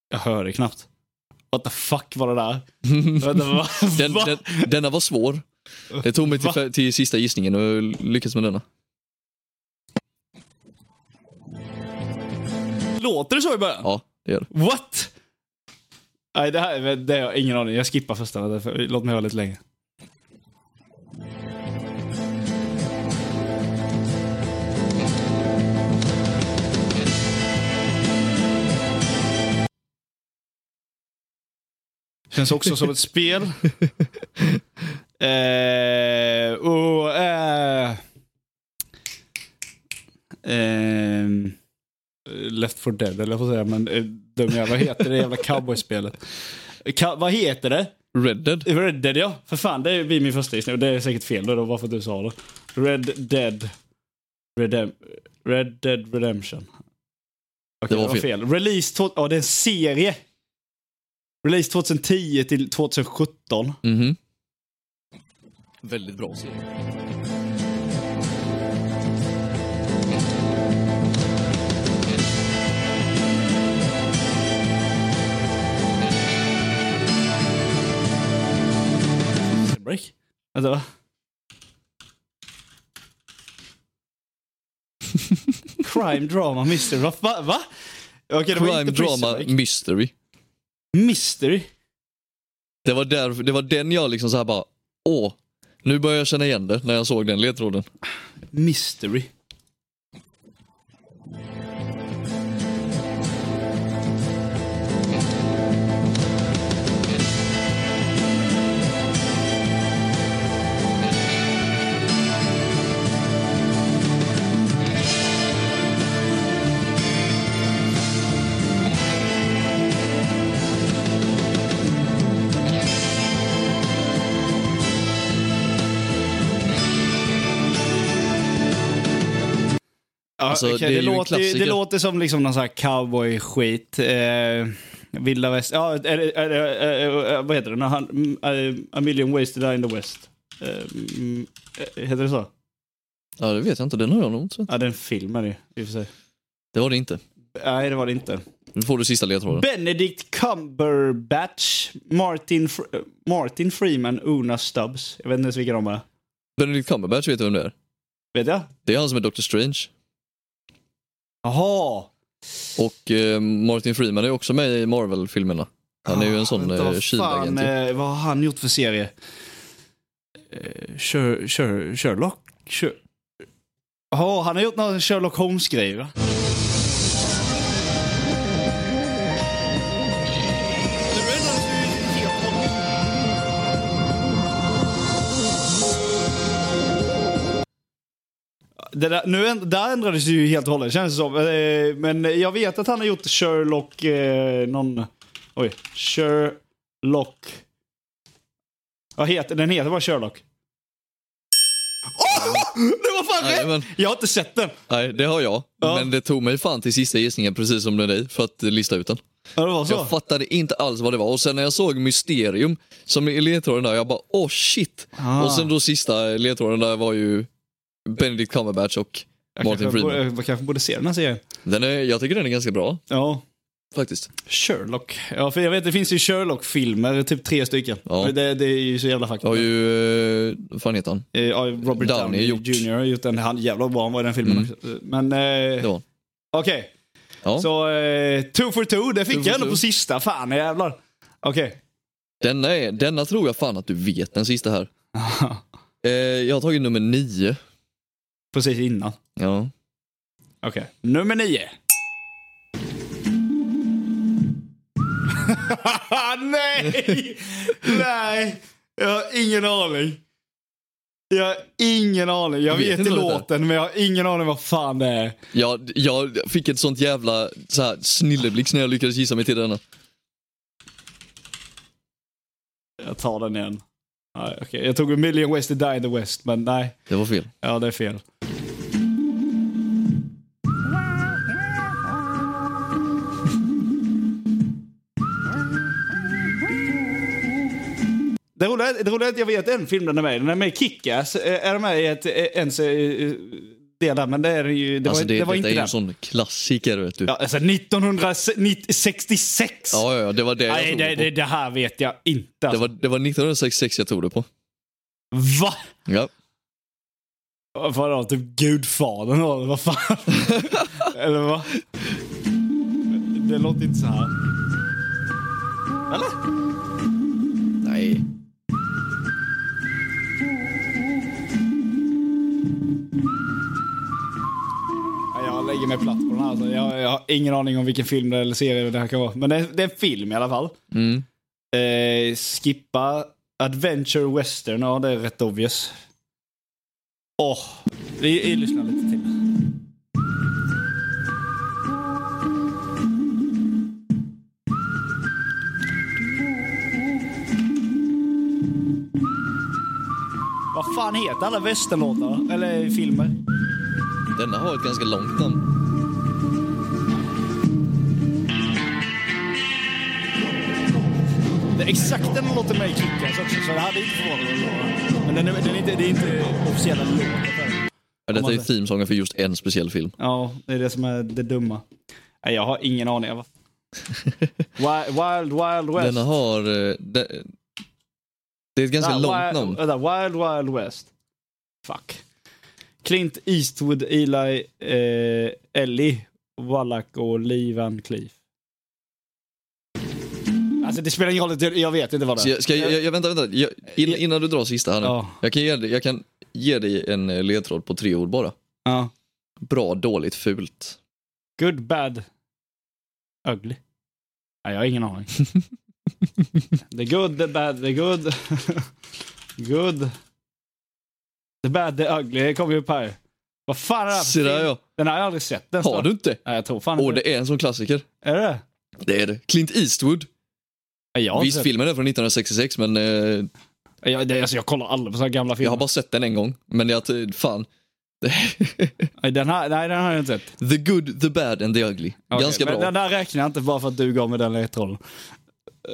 Jag hör det knappt. What the fuck var det där? Vänta, va?
Den,
Va?
den, denna var svår. Det tog mig till, till sista gissningen och jag lyckades med denna.
Låter det så i början?
Ja, det gör det.
What? Nej, det här det har jag ingen aning. Jag skippar första. vänta, för- Låt mig höra lite längre. Känns också som ett spel. eh, och, eh, ehm. Left for Dead eller jag får säga, men eh, dum jävla, vad heter det jävla cowboyspelet? Ka- vad heter det?
Red Dead.
Red Dead ja, för fan det blir min första gissning och det är säkert fel då, då bara för att du sa det. Red Dead Redem- Red Dead Redemption. Okej,
Det var fel.
Release, to- ja det är en serie. Release 2010 till 2017.
Mhm. Väldigt bra serie.
Break. Vänta va? Crime drama mystery, va? va? va? Okej, det var
Crime
inte Prison
Drama
Break.
Mystery.
Mystery?
Det var, där, det var den jag liksom så här bara, åh, nu börjar jag känna igen det när jag såg den ledtråden.
Mystery. Ja,
Alltså,
okej,
det är
det,
ju en
låter, ju- det
klassiker.
låter som liksom någon sån här cowboy-skit. Eh, Vilda väst... Ja, är det, är det, eh, eh, vad heter den? Han, mm, eh, A million ways to die in the west. Eh, mm, eh, heter det så?
Ja, det vet jag inte. Den har jag nog inte sett.
Ja, den filmen ju. I och för sig.
Det var det inte.
Nej, det var det inte.
Nu får du sista ledtråden.
Benedict Cumberbatch, Martin, Fr- eh, Martin Freeman, Una Stubbs. Jag vet inte ens vilka de är.
Benedict Cumberbatch vet du vem det är?
Vet jag?
Det är han som är Doctor Strange.
Jaha!
Och eh, Martin Freeman är också med i Marvel-filmerna. Han är ju en sån
Vänta,
eh,
Ah, vad fan,
kylagent. ju.
eh, Vad har han gjort för serie? Eh, Sher- Sher- Sherlock? Sher- Jaha, han har gjort några Sherlock Holmes-grejer va? Det där, nu, änd- där ändrades det ju helt och hållet känns det som. Eh, Men jag vet att han har gjort Sherlock... Eh, någon... Oj. Sherlock... Vad heter den? heter bara Sherlock. Åh! det var fan
Nej,
rätt!
men,
Jag har inte sett den.
nej, det har jag.
Ja.
Men det tog mig fan till sista gissningen, precis som med dig, för att eh, lista ut den.
Ja, det var
Så. Jag
så.
fattade inte alls vad det var. Och sen när jag såg Mysterium som i ledtråden där, jag bara åh shit.
Ah.
Och sen då sista ledtråden där var ju Benedict Cumberbatch och Martin
kanske,
Freeman.
borde, jag kanske borde se den här serien.
Den är, jag tycker den är ganska bra
Ja.
faktiskt.
Sherlock. Ja, för jag vet det finns ju Sherlock-filmer, typ tre stycken.
Ja.
Men Det, det är ju så jävla fucked
Jag har
up.
ju, eh, vad fan heter han?
Eh, Ja, Robert
Downey
Downey,
gjort.
Jr. har gjort den. Han, jävla bra han var i den filmen
Mm.
också. Men eh,
Det var han.
okej,
Ja.
så eh, two for two, det
Two
fick
for
jag ändå
two.
på sista. Fan jävlar. Okej.
Denna, är, denna tror jag fan att du vet, den sista här. Eh, jag har tagit nummer nio.
Precis innan.
Ja.
Okej. Nummer nio. Nej! Nej! Jag har ingen aning. Jag har ingen aning. Jag
Vet
vet,
inte
ju
vad det är.
låten men jag har ingen aning vad fan det är.
Jag, jag fick ett sånt jävla så här, snilleblixt när jag lyckades gissa mig till denna.
Jag tar den igen. Nej, okej. Jag tog A Million Ways to Die in the West men nej.
Det var fel.
Ja, det är fel. Det roliga, det roliga är att jag vet en film där den är med Den är med i Kick-Ass. Eh, Är den med i ett, eh, ens eh, del där, men det är den ju... Det
Alltså
var, det, var inte
detta är ju
den.
en sån klassiker vet du.
Ja, alltså 1966!
Ja, ja, ja, det var det jag
Nej,
trodde
det,
på.
det, det här vet jag inte.
Det
Alltså.
var, det var 1966 jag tog det på.
Va?
Ja.
Vadå, typ gudfadern då? eller Vad fan? Eller vad? Det låter inte så här. Eller?
Nej.
Ja, Jag lägger mig platt på den här. Alltså. Jag, jag har ingen aning om vilken film det- eller serie det här kan vara. Men det, det är en film i alla fall.
Mm.
Eh, skippa Adventure Western. Ja, det är rätt obvious. Åh, vi, vi lyssnar lite till. Vad fan heter alla västernlåtar? Eller filmer?
Denna har ett ganska långt namn.
Det är exakt den låten med i Kick-Ass också, så det hade inte förvånat mig. Men den är, den är inte, det är inte officiella låten.
Ja, detta är themesången för just en speciell film.
Ja, det är det som är det dumma. Nej, jag har ingen aning. Vad- Wild, wild, wild West.
Denna har... eh, de- Det är ett ganska
Nej,
långt
wild,
namn.
vänta, Wild, wild West. Fuck. Clint Eastwood, Eli, eh, Ellie, Wallach och Lee Van Cleef. Alltså det spelar ingen roll, det- jag vet inte vad
Så
det är.
jag, ska, jag, jag, vänta, vänta. Jag, in, innan du drar sista här nu.
Ja.
Jag, kan ge, dig- jag kan ge dig en eh, ledtråd på tre ord bara.
Ja.
Bra, dåligt, fult.
Good, bad, ugly. Nej, jag har ingen aning. the good, the bad, the good. good. The bad, the ugly. Det kommer ju upp här. Vad fan är det här för
Se där
film?
ja.
Den har jag aldrig sett. Den
Har du inte?
Nej, jag tror fan
Åh,
inte
det är en sån klassiker.
Är det?
Det är det. Clint Eastwood.
Nej, jag har inte
Visst,
sett.
filmen är från 1966 men eh,
Jag, det, alltså, jag kollar aldrig på sådana gamla
jag
filmer.
har bara sett den en gång. Men jag, fan.
nej, den här, nej, den har jag inte sett.
The good, the bad and the ugly.
Okej,
Ganska
men
bra.
Den där räknar jag inte bara för att du gav mig den ledtråden.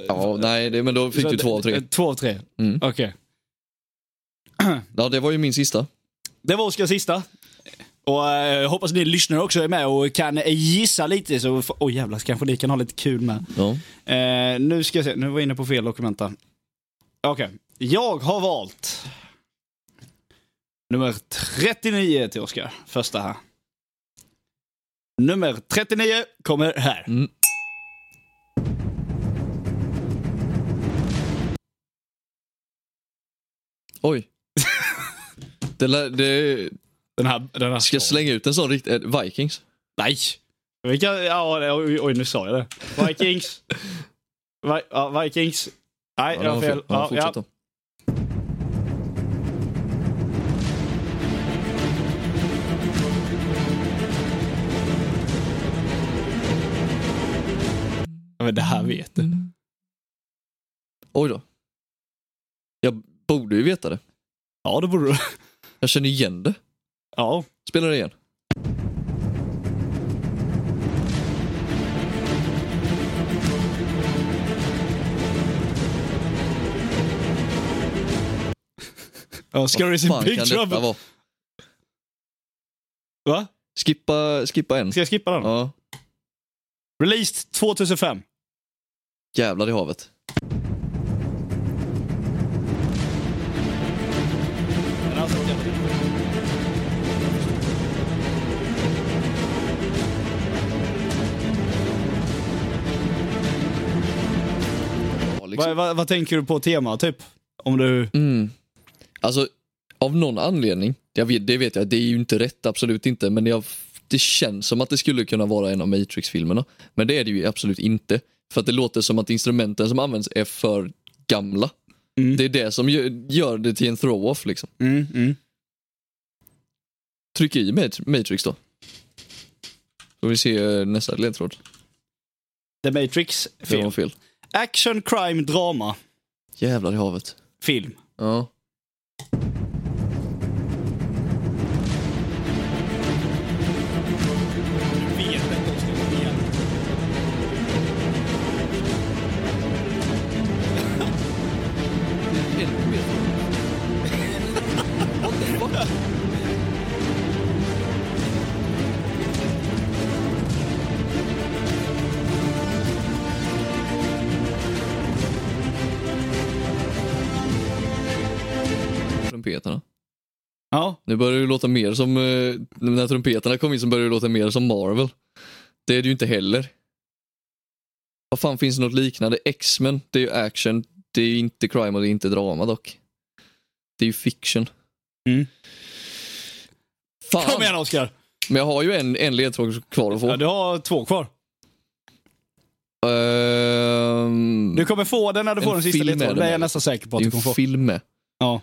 Ja, nej, det, men då fick
Så
du
det-
två av tre.
Två av tre.
Mm.
Okej.
Ja, det var ju min sista.
Det var Oskars sista. Och eh, hoppas ni lyssnare också är med och kan gissa lite. Så, f- oj jävlar, så kanske ni kan ha lite kul med.
Ja.
Eh, nu ska jag se, nu var jag inne på fel dokument där. Okej, jag har valt nummer 39 till Oskar. Första här. Nummer 39 kommer här.
Mm. Oj. Det, lär, det
Den här, den här
ska jag slänga ut en sån riktig... eh, Vikings?
Nej! Vilka, ja, det- oj, oj, nu sa jag det. Vikings. Vi, ja, Vikings. Nej, jag
Ja, det
har
var
fel.
Ja,
Ja, ja.
fortsätt då.
Ja, men det
Mm.
här vet du.
Oj då. Jag borde ju veta det.
Ja, det borde du.
Jag känner igen det.
Ja.
Spela det igen.
Ja, Scurry's in
Fan,
big
kan
trouble.
detta vara?
Va?
Skippa, skippa en.
Ska jag skippa den?
Ja,
Released 2005.
jävlar i havet. Ja, liksom.
Vad, vad, vad tänker du på tema, typ? Om du...
Mm. Alltså, av någon anledning, jag vet, det vet jag, det är ju inte rätt, absolut inte, men jag, det känns som att det skulle kunna vara en av Matrix-filmerna. Men det är det ju absolut inte, för att det låter som att instrumenten som används är för gamla.
Mm.
Det är det som gör, gör det till en throw-off liksom.
Mm, mm.
Tryck i Mat- Matrix då. Då vi se eh, nästa ledtråd.
The Matrix,
Det
film.
var fel.
Action, crime, drama,
Jävlar i havet.
film.
Ja. Trumpeterna.
Ja,
Nu börjar det låta mer som, eh, när trumpeterna kom in så började det låta mer som Marvel. Det är det ju inte heller. Vad fan finns det något liknande? X-Men, det är ju action, det är ju inte crime och det är inte drama dock. Det är ju fiction.
Mm.
Fan,
kom igen Oskar.
men jag har ju en, en ledtråd kvar att få.
Ja, du har två kvar.
Ehm,
Du kommer få den när du
En
får den sista
film är
ledtråden.
det
Det är
med.
jag nästan säker på att
det
du
är
kommer
en
få.
film med.
Ja.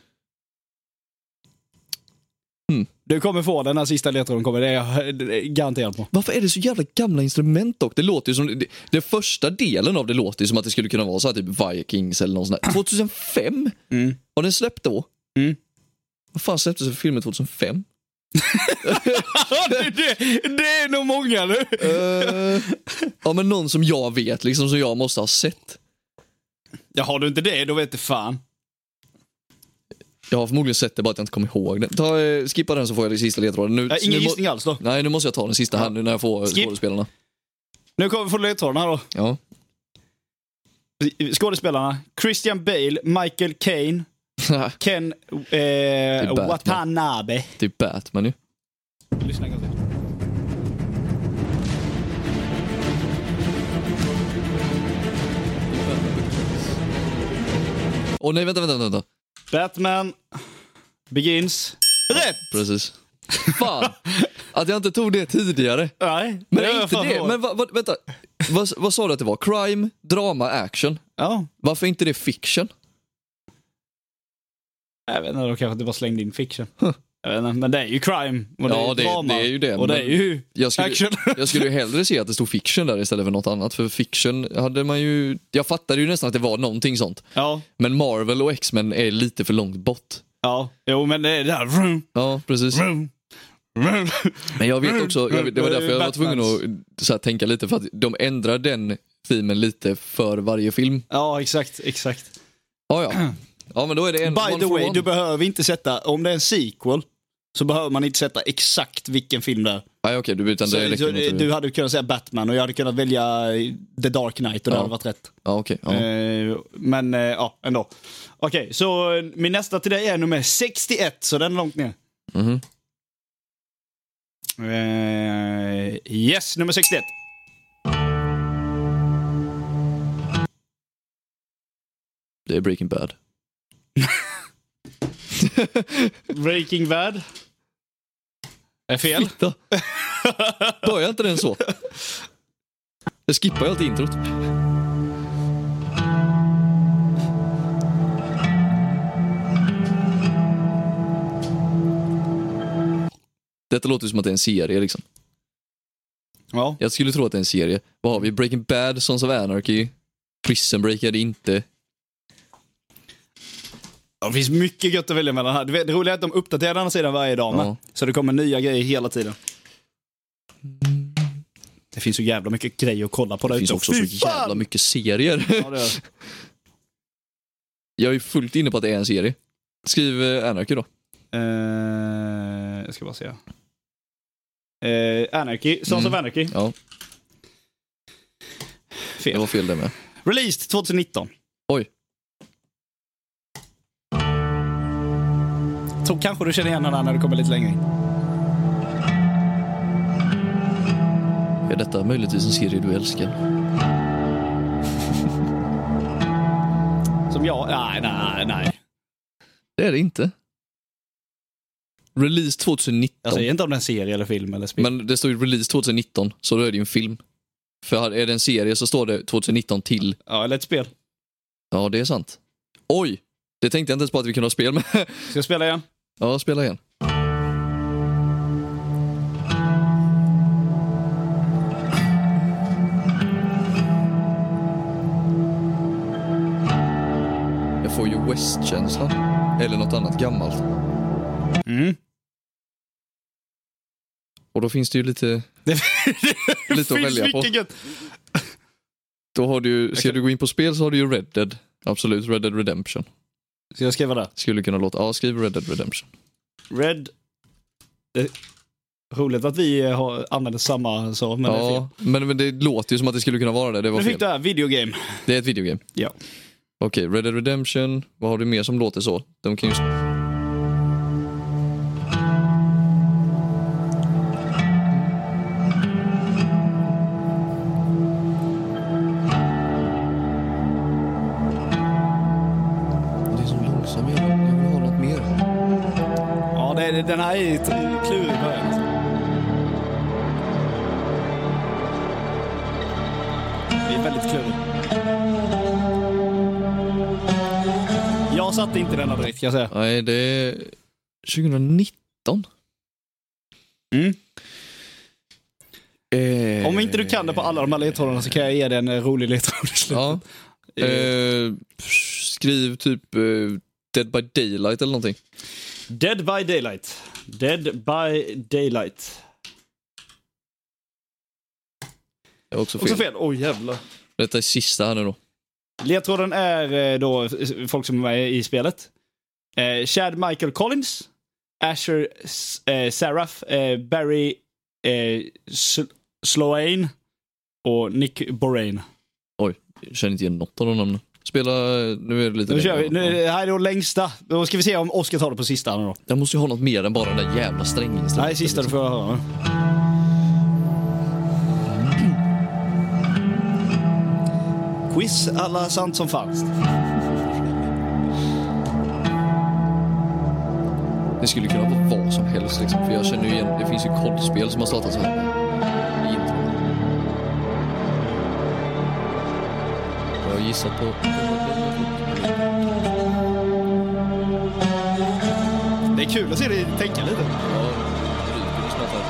Mm.
Du kommer få den när sista ledtråden kommer. Det är jag det är jag garanterad på.
Varför är det så jävla gamla instrument dock? Det låter ju som, det, det första delen av det låter ju som att det skulle kunna vara så här typ Vikings eller någon sån här. 2005?
Mm.
Har den släppt då?
Mm.
Vad fan släpptes för filmen 2005?
det, det, det är nog många nu.
Eh, ja men någon som jag vet liksom, som jag måste ha sett.
Ja, har du inte det, då vet du fan.
Jag har förmodligen sett det bara att jag inte kommer ihåg den. Ta, eh, skippa den så får jag den sista ledtråden. Nu,
Ja,
nu,
ingen
må-
gissning alls då.
Nej, nu måste jag ta den sista här nu när jag får eh,
Skip.
skådespelarna.
Nu kommer vi få ledtrådarna då.
Ja.
Skådespelarna. Christian Bale, Michael Caine, Ken eh,
Batman.
Watanabe.
det är Batman ju.
Lyssna en gång till.
Åh nej, vänta, vänta, vänta.
Batman Begins. Rätt!
Precis. Fan! Att jag inte tog det tidigare.
Nej,
Men
var
inte
fan
det.
bra.
Men va, va, vänta. Vad, vad sa du att det var? Crime, drama, action.
Ja,
Varför inte det fiction?
jag vet inte, då kanske du bara slängde in fiction. Jag vet inte, men det är ju crime och det
Ja,
är
det-
drama.
det är ju det,
Och det är
men-
ju
Jag skulle,
action.
jag skulle ju hellre se att det stod fiction där istället för något annat. För fiction hade man ju... Jag fattade ju nästan att det var någonting sånt.
ja,
Men Marvel och X-Men är lite för långt bort.
ja, jo men det är det här. Vroom,
Ja, precis.
vroom, vroom.
Men jag vet också, jag vet, det var därför jag var tvungen att så här, tänka lite. För att de ändrar den filmen lite för varje film.
Ja, exakt, exakt.
Ja, ja. Ja, men då är det en
By
one
the
for
way,
one.
du behöver inte sätta, om det är en sequel, så behöver man inte sätta exakt vilken film det är.
Nej, okej, du, utan
Så,
det
så, eh,
räcker med att
du hade kunnat säga Batman och jag hade kunnat välja eh, The Dark Knight och det
Ja.
hade varit rätt.
Ja, okej. ja.
Eh, Men eh, ja, ändå. Okej, så eh, min nästa till dig är nummer 61, så den är långt ner.
Mhm.
Eh, yes, nummer 61.
Det är Breaking Bad.
Breaking Bad. Är fel.
Fitta. Börjar inte den så? Jag skippar ju alltid introt.
typ.
Detta låter som att det är en serie liksom.
Ja.
Jag skulle tro att det är en serie. Vad har vi? Breaking Bad, Sons of Anarchy. Prison Break är det inte.
Ja, Det finns mycket gött att välja mellan här. Du vet, Det roliga är att de uppdaterar den här sidan varje dag med.
Ja.
Så det kommer nya grejer hela tiden. Det finns så jävla mycket grejer att kolla på där
Det finns
ute.
också så
Fy fan!
jävla mycket serier.
Ja, det gör det.
Jag är fullt inne på att det är en serie. Skriv eh, Anarchy då.
Eh, jag ska bara se. Eh, Anarchy, Sons
Mm.
of Anarchy.
Ja, det
Fel.
var fel det med.
Released 2019.
Oj.
Så kanske du känner igen den här när du kommer lite längre in.
Är detta möjligtvis en serie du älskar?
Som jag? Nej, nej, nej.
Det är det inte. Release 2019.
Jag säger inte om det är en serie eller film eller spel.
Men det står ju release 2019, så då är det ju en film. För här- är det en serie så står det 2019 till.
Ja, eller ett spel.
Ja, det är sant. Oj! Det tänkte jag inte ens på att vi kunde ha spel med.
Ska jag spela igen?
Ja, spela igen. Jag får ju West-känslan. Eller något annat gammalt.
Mm.
Och då finns det ju lite...
Det-
lite att
Finns
välja på.
mycket gött.
Då har du ju, ska
kan-
du gå in på spel så har du ju Red Dead. Absolut, Red Dead Redemption.
Ska jag skriva där?
Skulle kunna låta, ja skriv Red Dead Redemption.
Red. Det är roligt att vi eh, har, använder samma så, men det är fel.
ja, men, men det låter ju som att det skulle kunna vara det, det var
Nu
fel.
fick du här, videogame.
Det är ett videogame.
Ja.
Okej, Red Dead Redemption, vad har du mer som låter så? De kan ju... Det är så långsam jag vill jag vill ha något mer.
Ja, det, det- den här är ett- klurig i början. Det är väldigt klurig. Jag satte inte denna direkt kan jag säga.
Nej, det är 2019.
Mm.
Eh,
Om inte du kan det på alla de här ledtrådarna så kan jag ge dig en eh, rolig ledtråd i slutet.
Ja.
Eh,
Eh, skriv typ eh, Dead by Daylight eller någonting.
Dead by daylight. Dead by daylight.
Det var också fel.
Också fel. Oj jävlar.
Detta är sista här nu då.
Ledtråden är eh, då eh, folk som är med i spelet. Eh, Chad Michael Collins, Asher S- eh, Saraf, eh, Barry eh, Sl- Sloane och Nick Borain.
Jag känner inte igen något av de namnen. Spela, eh, nu är det lite
Nu kör
längre.
vi. Nu, är det- här är då längsta. Då ska vi se om Oskar tar det på sista. nu Då.
Jag måste ju ha något mer än bara den där jävla stränginstrumenten.
Nej, sista du får jag höra. Quiz alla sant som falskt.
Det skulle kunna vara vad som helst liksom. För jag känner ju igen, det finns ju kodspel som har startat så här. I intro. Jag har gissat på...
Det är kul att se dig tänka lite.
Ja, det ryker ju snart här.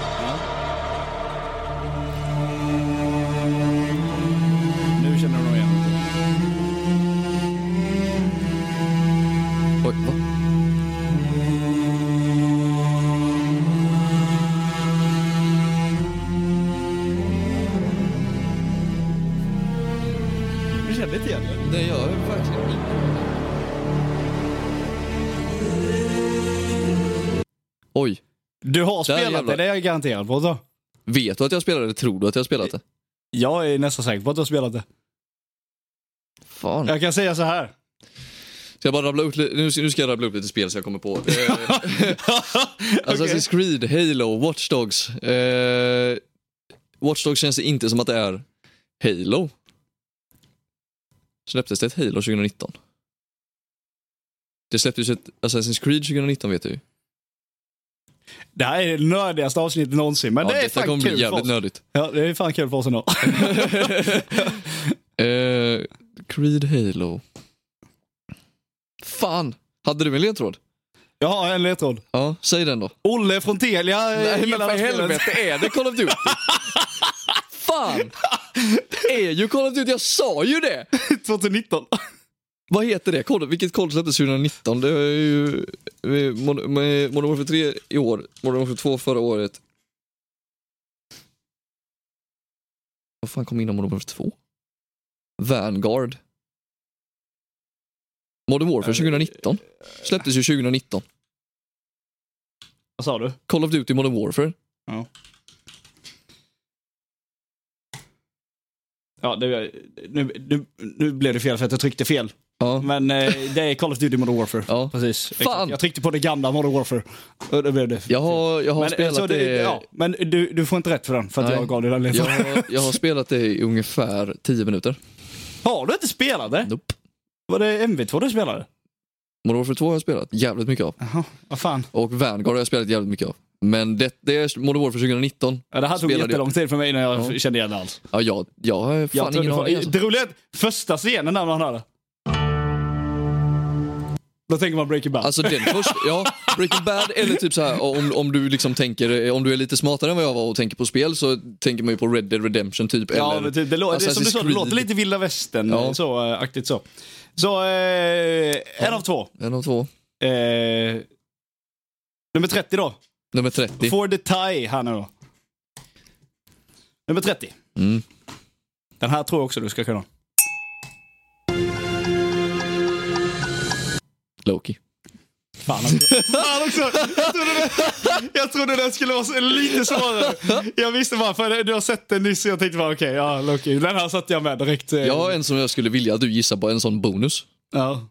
Nu känner du nog igen det.
Oj, va?
Du känner inte igen det?
Det gör jag verkligen Oj.
Du har
Där
spelat
jävlar.
det, det är jag garanterad på. Så.
Vet du att jag spelade det? Tror du att jag har spelat det?
Jag är nästan säker på att du har spelat det.
Fan.
Jag kan säga så här.
Ska jag bara rabbla upp, li- nu ska nu ska jag rabbla upp lite spel så jag kommer på. Eh,
Alltså,
Assassin's Creed, Halo, Watch Dogs. Eh, Watch Dogs känns det inte som att det är Halo. Släpptes det ett Halo 2019? Det släpptes ett Assassin's Creed 2019 vet du ju.
Det här är det nördigaste avsnittet någonsin, men
Ja,
det är
detta
fan
kommer bli
kul för
jävligt
oss.
nördigt.
Ja, det är fan kul för oss ändå.
Eh, Creed Halo. Fan! Hade du en ledtråd?
Jag har en ledtråd.
Ja, säg den då.
Olle från Telia eh, gillar alltså, det här spelet.
är det Call of Duty? fan! Är ju Call of Duty, jag sa ju det!
2019.
Vad heter det? Kolla, vilket koll släpptes 2019? Det är ju eh, Mod- med Modern Warfare 3 i år, Modern Warfare 2 förra året. Vad fan kom innan Modern Warfare 2? Vanguard. Modern Warfare 2019. Släpptes ju 2019.
Vad sa du?
Call of Duty Modern Warfare.
Ja, det, nu, nu, nu blev det fel för att jag tryckte fel.
Ja.
Men eh, det är Call of Duty Modern Warfare.
Ja.
Precis.
Fan!
Jag tryckte på det gamla Modern Warfare. Och då blev det
Jag har, jag har
men, eh,
spelat
så
eh, det...
ja, men du, du får inte rätt för den, för att
Nej.
jag gav dig den liksom.
jag,
ledtråden.
har, jag har spelat det i ungefär 10 minuter.
Har du inte spelat det?
Nope.
Var det MV2 du spelade?
Modern Warfare 2 har jag spelat jävligt mycket av.
Jaha, vad fan.
Och Vanguard har jag spelat jävligt mycket av. Men det, det är Modern Warfare 2019.
Ja, det här tog
Spelade-
jättelång tid för mig innan jag
Ja.
kände igen det alls.
Ja, jag, jag har fan
Jag
ingen
trodde fan-
aning. Alltså.
det roliga är att första scenen när man hör det. Då tänker man Breaking Bad.
Alltså den först, ja, Breaking Bad eller typ så här om, om du liksom tänker, om du är lite smartare än vad jag var och tänker på spel så tänker man ju på Red Dead Redemption typ.
ja,
eller
men typ, det, lå- det, är som du sa, det
Creed.
låter lite vilda västern.
Ja.
Så, eh, aktigt så. Så, eh, en av två.
En av två.
Eh, nummer 30 då.
Nummer 30.
For the tie här nu då. Nummer 30.
Mm.
Den här tror jag också du ska kunna.
Loki.
Fan också. Fan också. Jag, trodde det, jag trodde det skulle vara så- lite svårare. Jag visste bara, för det- du har sett den nyss och jag tänkte bara okej, ja Loki. Den här satte jag med direkt. eh.
Jag har en som jag skulle vilja att du gissar på, en sån bonus.
Ja.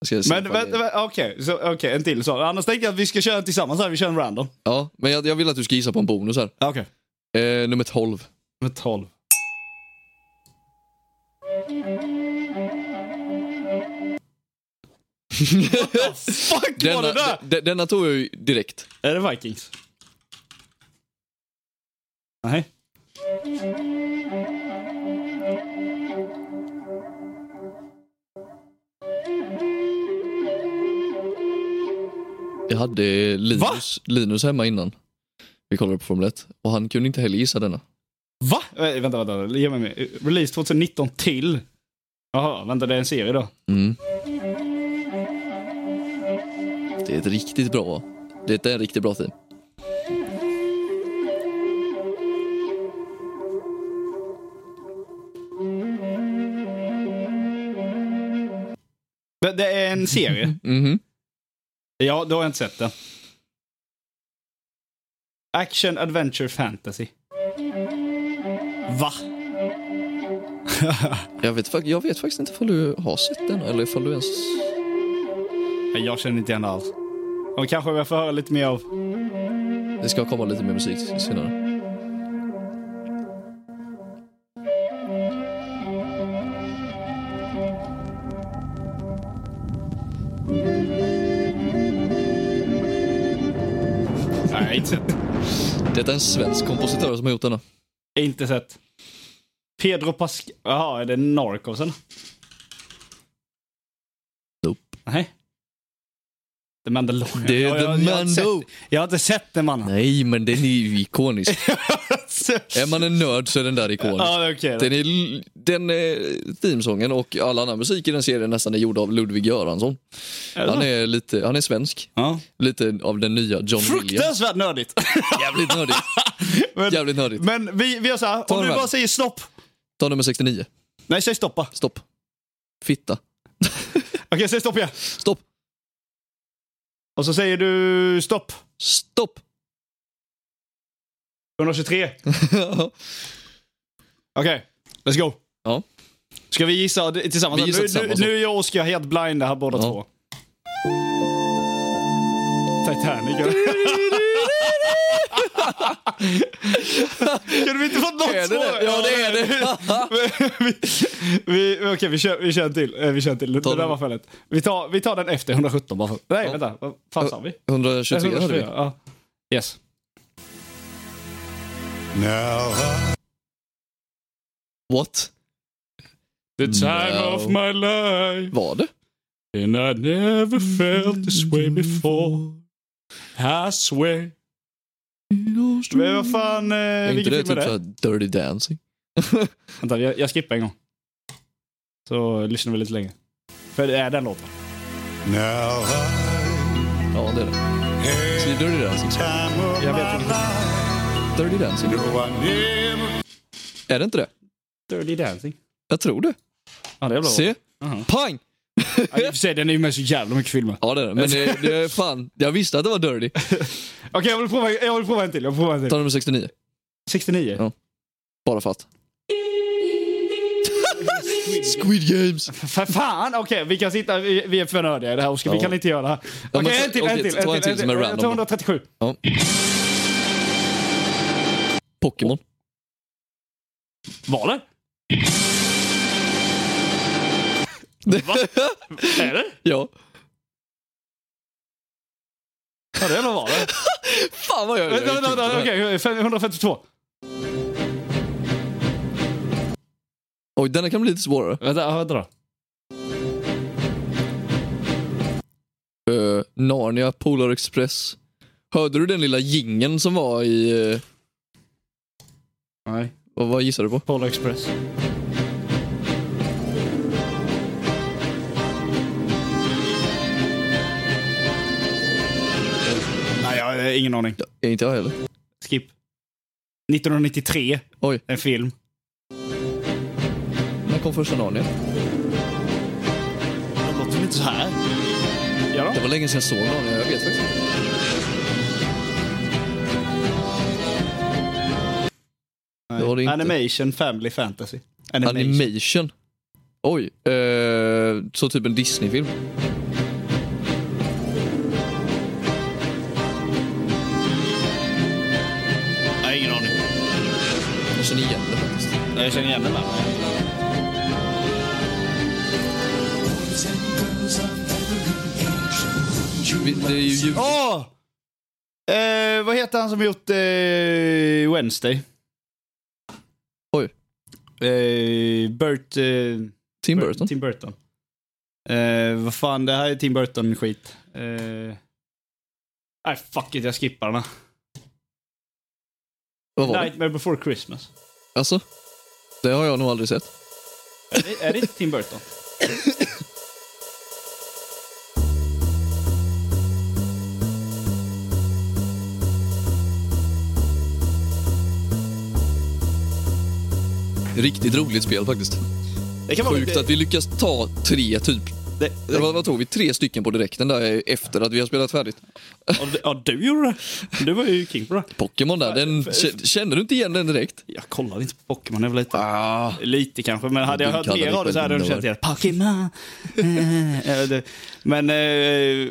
Jag ska se
Men
ifall det är-
vänta, vänta, okej, okay, en till så. Annars tänkte jag att vi ska köra tillsammans här, vi kör en random.
Ja, men jag, jag vill att du ska gissa på en bonus här.
Okej.
Eh, nummer 12.
Med 12. What the fuck var det
Denna,
där?
de- denna tog jag ju direkt.
Är det Vikings? Nej.
Jag hade
Va?
Linus, Linus hemma innan. Vi kollade på Formel 1 och han kunde inte heller gissa denna.
Va? Äh, vänta, vänta, vänta. Ge mig mer. Release 2019 till. Jaha, vänta, det är en serie då.
Mm. Det är ett riktigt bra. Det är en riktigt bra team.
Det, det är en serie.
Mhm.
ja, då har jag inte sett den. Action, adventure, fantasy. Va?
Jag, vet, fak- jag vet faktiskt inte ifall du har sett den eller ifall du ens...
Nej, Jag känner inte igen det alls. Och kanske jag får höra lite mer av...
Det ska komma lite mer musik senare.
Nej, inte sett.
Detta är en svensk kompositör som har gjort denna.
Inte sett. Pedro Pascal... Jaha, är det Narcos eller?
Nope.
Nej. The Mandalorian.
Det är
Ja, jag,
The
jag, har inte
Mando.
sett- jag har inte sett den mannen.
Nej, men den är ju ikonisk. är man en nörd så är den där ikonisk.
Ja, det är okej.
Den, är, l- den eh, themesången och all annan musik i den serien nästan är gjord av Ludvig Göransson.
Är det
Han
så?
är, lite, han är svensk.
Ja.
Lite av den nya John Williams.
Fruktansvärt nördigt.
Jävligt nördigt.
Men,
Jävligt nördigt.
men vi, vi gör så här, om
den
du
väl.
bara säger stopp.
Ta nummer 69.
Nej, säg stoppa.
Stopp. Fitta.
Okej, säg stopp igen.
Stopp.
Och så säger du stopp.
Stopp.
123. Okej, let's go.
Ja.
Ska vi gissa d- tillsammans?
Vi gissar
nu,
tillsammans.
Nu, nu är jag och Oskar helt blinda här båda
Ja.
två. Titanic. eller? Kunde vi inte fått något
är det
svar?
det? Ja, det är det.
vi, vi, Okej, vi, kör, vi kör en till. Eh, Vi kör en till. Det
Ta
där
den.
var för lätt. Vi tar, vi tar den efter 117 bara. för- Nej,
Ja.
vänta. Vad fan sa vi? Eh,
123 hörde vi.
ja. Yes.
What?
The
time No. of my
life
Var det?
And I never felt this way before. I swear. Men vad eh, fan, eh,
Är inte
vilken
det
film är
typ
det?
såhär Dirty Dancing?
Vänta, jag, jag skippar en gång. Så lyssnar vi lite längre. För det är den låten.
Now I
Ja, det är det. Så det
had
är Dirty Dancing.
time of
Jag vet
my
inte.
life.
Dirty Dancing.
No, I never
Är det inte det?
Dirty Dancing.
Jag tror det.
Ja, det är bra.
Se.
Aha.
Pang!
Ja, i och för sig, den är ju med så jävla mycket filmer.
Ja, det är det. Men det, det är fan. Jag visste att det var Dirty.
Okej, jag, vill prova- jag vill prova en till. Jag vill prova en
Ta
till.
nummer 69.
69.
Ja. Bara för att. Squid Games.
För fan! Okej, vi kan sitta... Vi, vi är för nördiga i det här, Oskar. Vi
Ja.
kan inte göra det här.
Ja,
Okej,
men ta-
en till, en
okej,
till.
ta en till som är
Jag tar
random.
137.
Pokémon.
Var det? Va? Är det?
Ja.
Ja, det var det.
Fan vad jag
Vänta, vänta, vänta. Okej, 152.
Oj, denna kan bli lite svårare.
Vänta, vänta då.
Eh, Narnia, Polar Express. Hörde du den lilla gingen som var i... eh,
Nej.
vad, vad gissar du på?
Polar Express. Nej, jag har ingen aning.
Ja, Eh, inte jag heller.
Skip. 1993,
Oj,
en film.
när kom första Narnia?
Det låter väl inte så här? Ja, då.
Det var länge sedan jag såg Narnia, jag vet faktiskt inte. Det var det inte.
Animation Family Fantasy.
Animation. Oj, eh, så typ en Disney-film.
Nej, ingen aning.
Jag känner igen det faktiskt.
Nej, Jag känner igen den där.
Vi, det är ju jul.
Åh! Eh, vad heter han som gjort eh, Wednesday?
Oj.
Eh, Bert... Eh,
Tim Burton.
Tim Burton. Eh, vad fan, det här är Tim Burton-skit. Eh, nej, fuck it, jag skippar den. här.
Vad var det?
Nightmare before Christmas.
Alltså? Det har jag nog aldrig sett.
är, det, är det inte Tim Burton?
Riktigt roligt spel faktiskt.
Det kan
Sjukt att vi lyckas ta tre typ.
det, det,
Eller vad, vad tog vi? Tre stycken på direkten där efter att vi har spelat färdigt.
ja, det, ja, du gjorde det. Du var ju king på det.
Pokémon där, den, k- känner du inte igen den direkt?
Jag kollade inte på Pokémon när jag var liten.
Ah.
Lite kanske, men hade jag
Du
hört
kallar
mer
dig
av det så hade
själv
jag känt igen Pokémon. Eh, eh, det- men... Eh,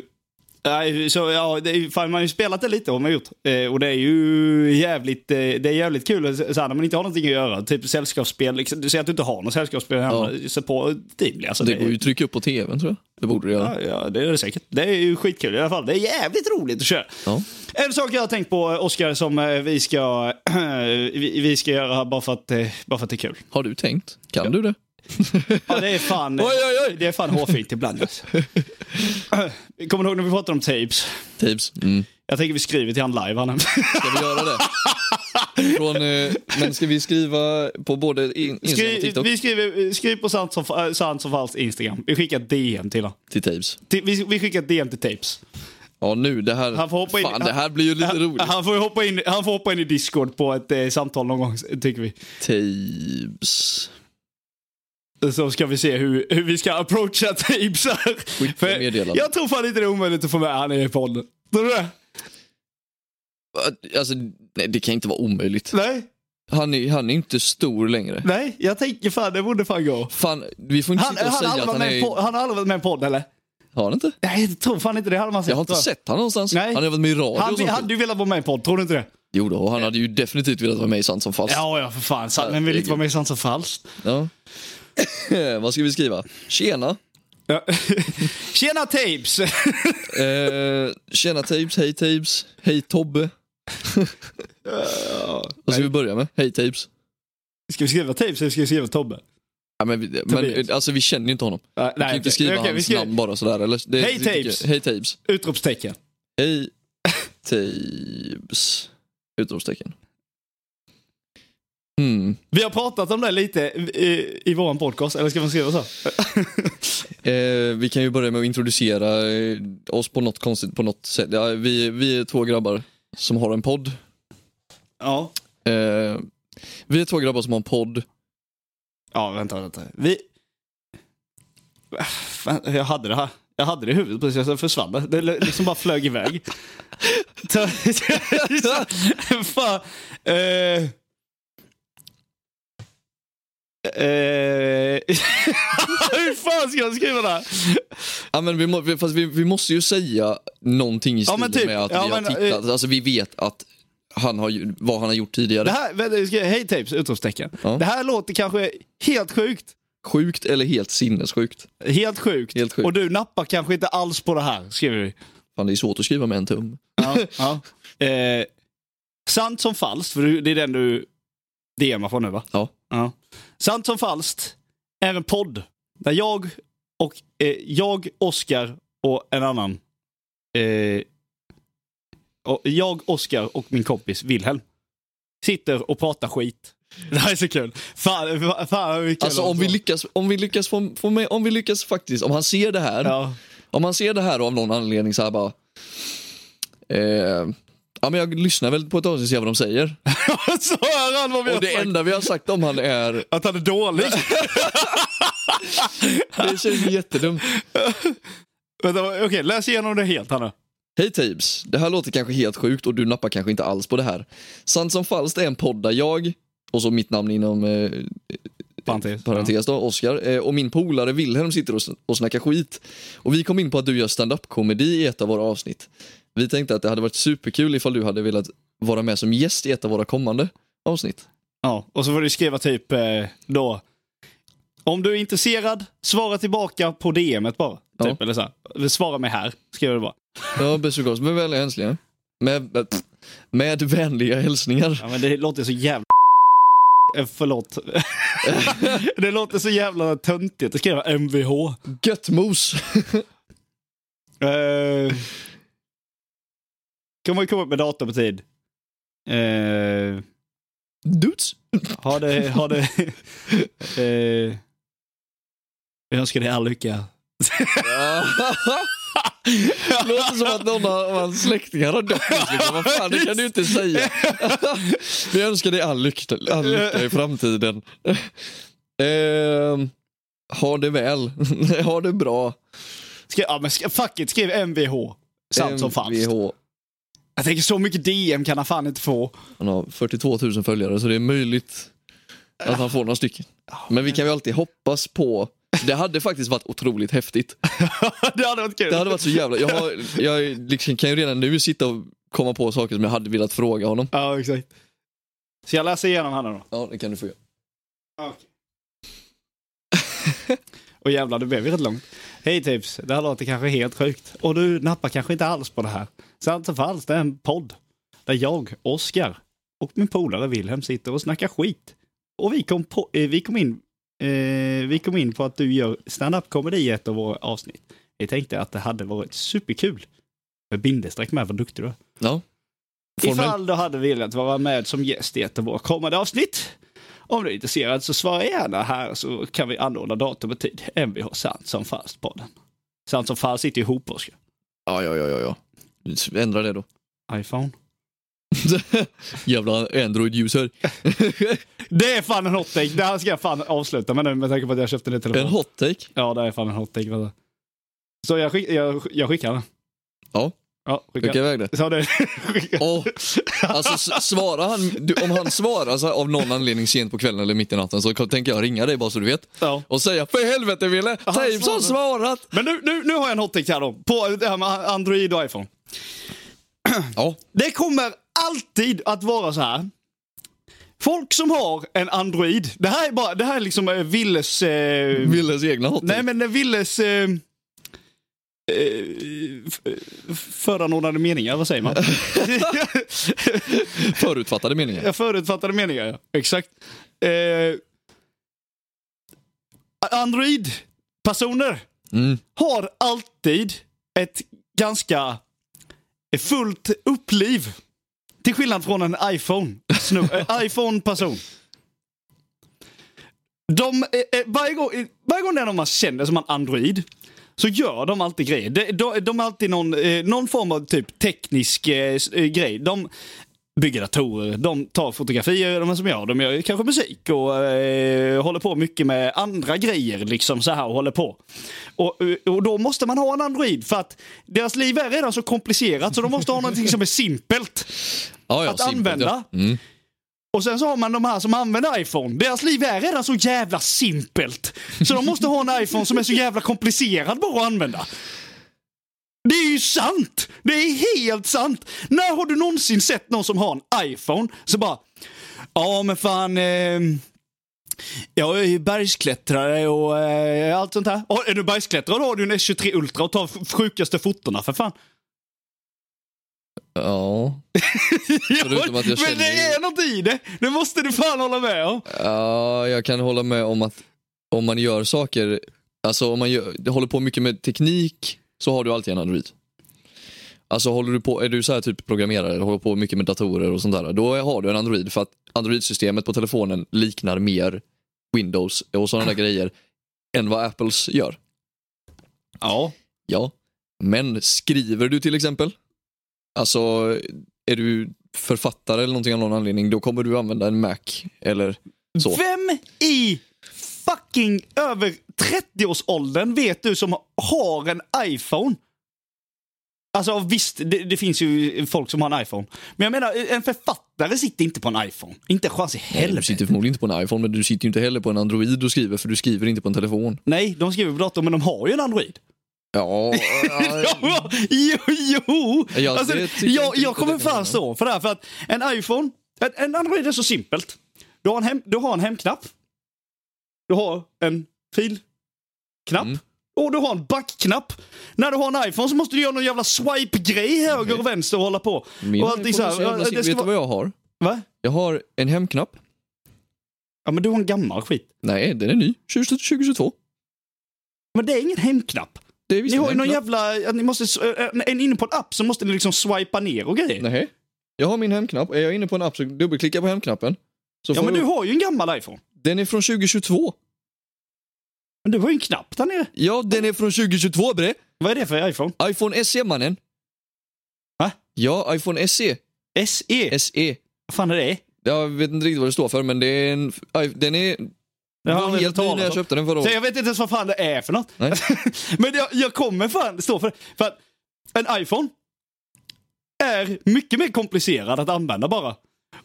nej, så ja, det, är- fan, man har ju spelat det lite har man gjort. Eh, och det är ju jävligt, eh, det är jävligt kul så så här, när man inte har någonting att göra. Typ sällskapsspel, liksom, du säger att du inte har något sällskapsspel hemma. Sätt på Timely. Alltså,
Ah, Det
är-
går ju att trycka upp på tvn tror jag. Det borde det göra.
Ja, ja, det är det säkert. Det är ju skitkul i alla fall. Det är jävligt roligt att köra.
Ja.
En sak jag har tänkt på, Oskar, som eh, vi ska, vi, vi ska göra här bara för att, eh, bara för att det är kul.
Har du tänkt? Kan du det?
Ja, det är fan,
Oj, oj, oj!
Det är fan hårfint ibland. Alltså. Kommer du ihåg när vi pratade om tapes?
Tapes. Mm.
Jag tänker vi skriver till han live. Han.
Ska vi göra det? Från, eh, men ska vi skriva på både in, Instagram och
Skri,
TikTok?
vi skriver, skriv på sant som, äh, sant som falskt Instagram. Vi skickar ett DM till honom.
Till Tapes.
Till- Vi, vi skickar ett DM till tapes.
Ja nu, det här,
Han får hoppa in-
fan, det här blir ju lite roligt.
Han får, ju hoppa in, han får hoppa in i Discord på ett eh, samtal någon gång, tycker vi.
Tapes.
Så ska vi se hur, hur vi ska approacha tapes här.
Skicka meddelande.
jag tror fan inte det är omöjligt att få med han i podden. Tror du det?
Alltså, nej, det kan inte vara omöjligt.
Nej,
Han är, han är inte stor längre.
nej, jag tänker fan det borde fan gå.
Fan, vi får inte
Han,
sitta
han,
och
har
säga
aldrig
att
varit
han
med i en
är...
podd- han har aldrig varit med i en podd eller?
Har han inte?
Nej, jag tror fan inte det. hade man sett.
Jag har inte
tror
sett han någonstans.
Nej.
Han har varit med i radio och
Han
sånt.
hade ju velat vara med i en podd, tror du inte det?
Jo då, och han hade ju definitivt velat vara med i Sant som falskt.
Ja, ja för fan. Sant- Men vill inte vara med i Sant som falskt.
Ja. Vad ska vi skriva? Tjena.
Ja. Tjena tapes!
Eh, tjena Tapes, hej Tapes, hej Tobbe. Vad ska vi börja med? Hej Tapes.
Ska vi skriva tapes eller ska vi skriva Tobbe?
Ja, men, vi- men, alltså, vi känner ju inte honom.
Nej,
vi kan ju inte
okej.
skriva
Okej, vi
hans
skriver-
namn bara sådär. Eller? Det-
Hej,
det tycker jag-
Tapes.
Hej Tapes.
Utropstecken.
Hej Tapes. Utropstecken. Hmm.
Vi har pratat om det lite i, i vår podcast, eller ska man skriva så?
Eh, vi kan ju börja med att introducera eh, oss på något konstigt, på något sätt. Ja, vi, vi är två grabbar som har en podd.
Ja.
Eh, vi är två grabbar som har en podd.
Ja, vänta, vänta. Vi... Ah, fan, Jag hade det här. Jag hade det i huvudet precis, sen försvann det. Det liksom bara flög iväg. Så- så- Fan. Eh. Eh. Hur fan ska jag skriva det här?
Ja, men vi, må, vi- fast vi, vi måste ju säga någonting i
Ja,
stil
men typ.
med att
Ja,
vi har
men, eh,
tittat. Alltså, vi vet att han har, ju- vad han har gjort tidigare.
Det här, vänta, jag ska- hej tapes, utropstecken.
Ja.
Det här låter kanske helt sjukt.
Sjukt eller helt sinnessjukt.
Helt sjukt.
Helt sjukt.
Och du nappar kanske inte alls på det här, skriver vi.
Fan, det är svårt att skriva med en tum.
Ja, ja. Eh, sant som falskt, för du- det är den du DMar från nu va?
Ja.
Sant som falskt är en podd där jag, och, eh, jag Oskar och en annan... Eh, och jag, Oskar och min kompis Wilhelm sitter och pratar skit. Det här är så kul. Fan, fa- fan vad kul.
Alltså om vi lyckas, om vi lyckas få, få med, om vi lyckas faktiskt, om han ser det här.
Ja.
Om man ser det här av någon anledning så här bara... Eh, ja men jag lyssnar väl på ett avsnitt och ser vad de säger.
så hör han vad vi
Och det
har sagt.
enda vi har sagt om han är...
Att han är dålig.
Det känns ju jättedumt.
Vänta, Okej, läs igenom det helt här nu.
Hej Tabes, det här låter kanske helt sjukt och du nappar kanske inte alls på det här. Sant som falskt är en podd där jag, och så mitt namn inom eh,
Parentes.
parentes då, Oscar, eh, och min polare Wilhelm sitter och, sn- och snackar skit. Och vi kom in på att du gör stand-up-komedi i ett av våra avsnitt. Vi tänkte att det hade varit superkul ifall du hade velat vara med som gäst i ett av våra kommande avsnitt.
Ja, och så får du skriva typ eh, då. Om du är intresserad, svara tillbaka på DMet bara.
Ja.
Typ, eller så här. Svara mig här, skriver du bara.
Ja, bäst och med vänliga hälsningar. Med, med- med vänliga hälsningar.
Ja, men det låter så jävla... Eh, Förlåt. det låter så jävla töntigt att skriva MVH.
Gött mos!
Eh, kan man ju komma upp med datum på tid. Eh,
Dudes!
ha det... Ha det eh, jag önskar dig all lycka.
Låter som att någon av hans släktingar har dött. Liksom. Vad fan, det kan du inte säga. Vi önskar dig all lycka, all lycka i framtiden. Ehm, ha det väl. ha det bra.
Skri- ja, men sk- fuck it, skriv MVH. Sant som falskt.
MVH.
Jag tänker så mycket DM kan han fan inte få.
Han har 42 000 följare så det är möjligt att han får några stycken. Men vi kan ju alltid hoppas på det hade faktiskt varit otroligt häftigt.
det hade varit kul.
Det hade varit så jävla... Jag, har, jag liksom, kan ju redan nu sitta och komma på saker som jag hade velat fråga honom.
Ja, exakt. Så jag läser igenom här nu då.
Ja, det kan du få göra.
Och jävlar, det blev ju rätt långt. Hej tips, det här låter kanske helt sjukt. Och du nappar kanske inte alls på det här. Sant och falskt, det är en podd. Där jag, Oskar och min polare Wilhelm sitter och snackar skit. Och vi kom, på, eh, vi kom, in, eh, vi kom in på att du gör stand-up komedi i ett av våra avsnitt. Vi tänkte att det hade varit superkul. Med bindestreck med, vad duktig du är.
Ja. Formel.
Ifall du hade velat vara med som gäst i ett av våra kommande avsnitt. Om du är intresserad så svara gärna här så kan vi anordna datum och tid. MVH Sant som falskt podden. Sant som falskt sitter ihop Oskar.
Ja, ja, ja, ja, ja. Ändra det då.
iPhone.
Jävla Android-user.
Det är fan en hot take. Det här ska jag fan avsluta med nu med tanke på att jag köpte en ny telefon.
En hot take.
ja, det är fan en hot take. vänta. Så jag, skick, jag, jag skickar den.
Ja.
Ja, skicka.
Skicka iväg det.
Så det, skicka.
Och, alltså, s- svarar han, du, om han svarar så här, av någon anledning sent på kvällen eller mitt i natten så tänker jag ringa dig bara så du vet.
Ja.
Och säga för helvete Wille, Taibs har svarat!
Men nu, nu, nu har jag en hot take här då. På det här med Android och iPhone.
Ja,
Det kommer alltid att vara så här. Folk som har en Android. Det här är, bara, det här är liksom eh, Willes... Eh,
Willes egna hot
Nej,
take.
men eh, Willes... Eh, eh, f- f- föranordnade meningar, vad säger man?
Förutfattade meningar.
Jag förutfattade meningar, ja. Exakt. Eh, Android-personer
Mm.
har alltid ett ganska fullt uppliv. Till skillnad från en iPhone. Snu- eh, iPhone-person. De, eh, eh, varje, gång, eh, varje gång det är någon man känner som en android så gör de alltid grejer. De, de, de är alltid någon, eh, någon form av typ teknisk eh, s- eh, grej. De bygger datorer, de tar fotografier, de är som jag, de gör ju kanske musik och eh, håller på mycket med andra grejer liksom så här och håller på. Och, eh, och då måste man ha en android för att deras liv är redan så komplicerat så de måste ha någonting som är simpelt.
Ja, ja,
Att
simpelt,
använda.
Ja. Mm.
Och sen så har man de här som använder iPhone. Deras liv är redan så jävla simpelt. Så de måste ha en iPhone som är så jävla komplicerad bara att använda. Det är ju sant! Det är helt sant! När har du någonsin sett någon som har en iPhone så bara... Ja, men fan... Eh, jag är ju bergsklättrare och eh, allt sånt här. Ja, är du bergsklättrare då har du en S23 Ultra och tar f- sjukaste fotona för fan.
ja. Förutom att jag
men det
känner ju-
är något i det! Det måste du fan hålla med om.
Ja, jag kan hålla med om att om man gör saker, alltså om man gör, håller på mycket med teknik så har du alltid en Android. Alltså håller du på, är du så här typ programmerare, håller på mycket med datorer och sånt där, då har du en Android för att Android-systemet på telefonen liknar mer Windows och sådana där grejer än vad Apples gör.
Ja.
Ja, men skriver du till exempel, alltså är du författare eller någonting av någon anledning, då kommer du använda en Mac eller så.
Vem i fucking över 30-årsåldern vet du som har en iPhone? Alltså visst, det, det finns ju folk som har en iPhone. Men jag menar, en författare sitter inte på en iPhone. Inte en chans i
Nej, du
helvete.
sitter förmodligen inte på en iPhone, men du sitter ju inte heller på en Android och skriver, för du skriver inte på en telefon.
Nej, de skriver på datorn, men de har ju en Android.
Ja,
Ja, jo, jo!
Ja,
alltså,
det tycker jag
jag,
inte
jag
riktigt
kommer
att det kan
fan
vara.
stå för det här. För att en iPhone, en, en Android är så simpelt. Du har en, hem, du har en hemknapp. Du har en filknapp.
Mm.
Och du har en backknapp. När du har en iPhone så måste du göra någon jävla swipe-grej höger och vänster och hålla på.
Mm. Min
och
iPhone är
allting
så
så här.
jävla
Ja,
simpel.
Det
Vet
ska
du vad
vara,
jag har?
va?
Jag har en hemknapp.
Ja, men du har en gammal skit.
Nej, den är ny. 20 2022.
Men det är ingen hemknapp.
Det är visst
Ni
en
har ju någon
hemknapp.
jävla... ja, Ni måste, s- en- en inne på en app så måste ni liksom swipa ner och grejer.
Nej. Jag har min hemknapp. Är jag inne på en app så dubbelklickar jag på hemknappen. Så
Ja,
får
men du
jag-
har ju en gammal iPhone.
Den är från 2022.
Men du har ju en knapp där nere.
Ja, den är från 2022 bre.
Vad är det för iPhone?
iPhone SE mannen.
Va?
Ja, iPhone E. SE.
SE?
SE.
E? Vad fan är det?
E. Jag vet inte riktigt vad det står för, men det är en... Den är...
Det har
var
jag
helt
inte
ny
talat
när jag
om.
köpte den förra
Så
året.
jag vet inte ens vad fan det är för något.
Nej.
Men jag, jag kommer fan stå för det. För att en iPhone är mycket mer komplicerad att använda bara.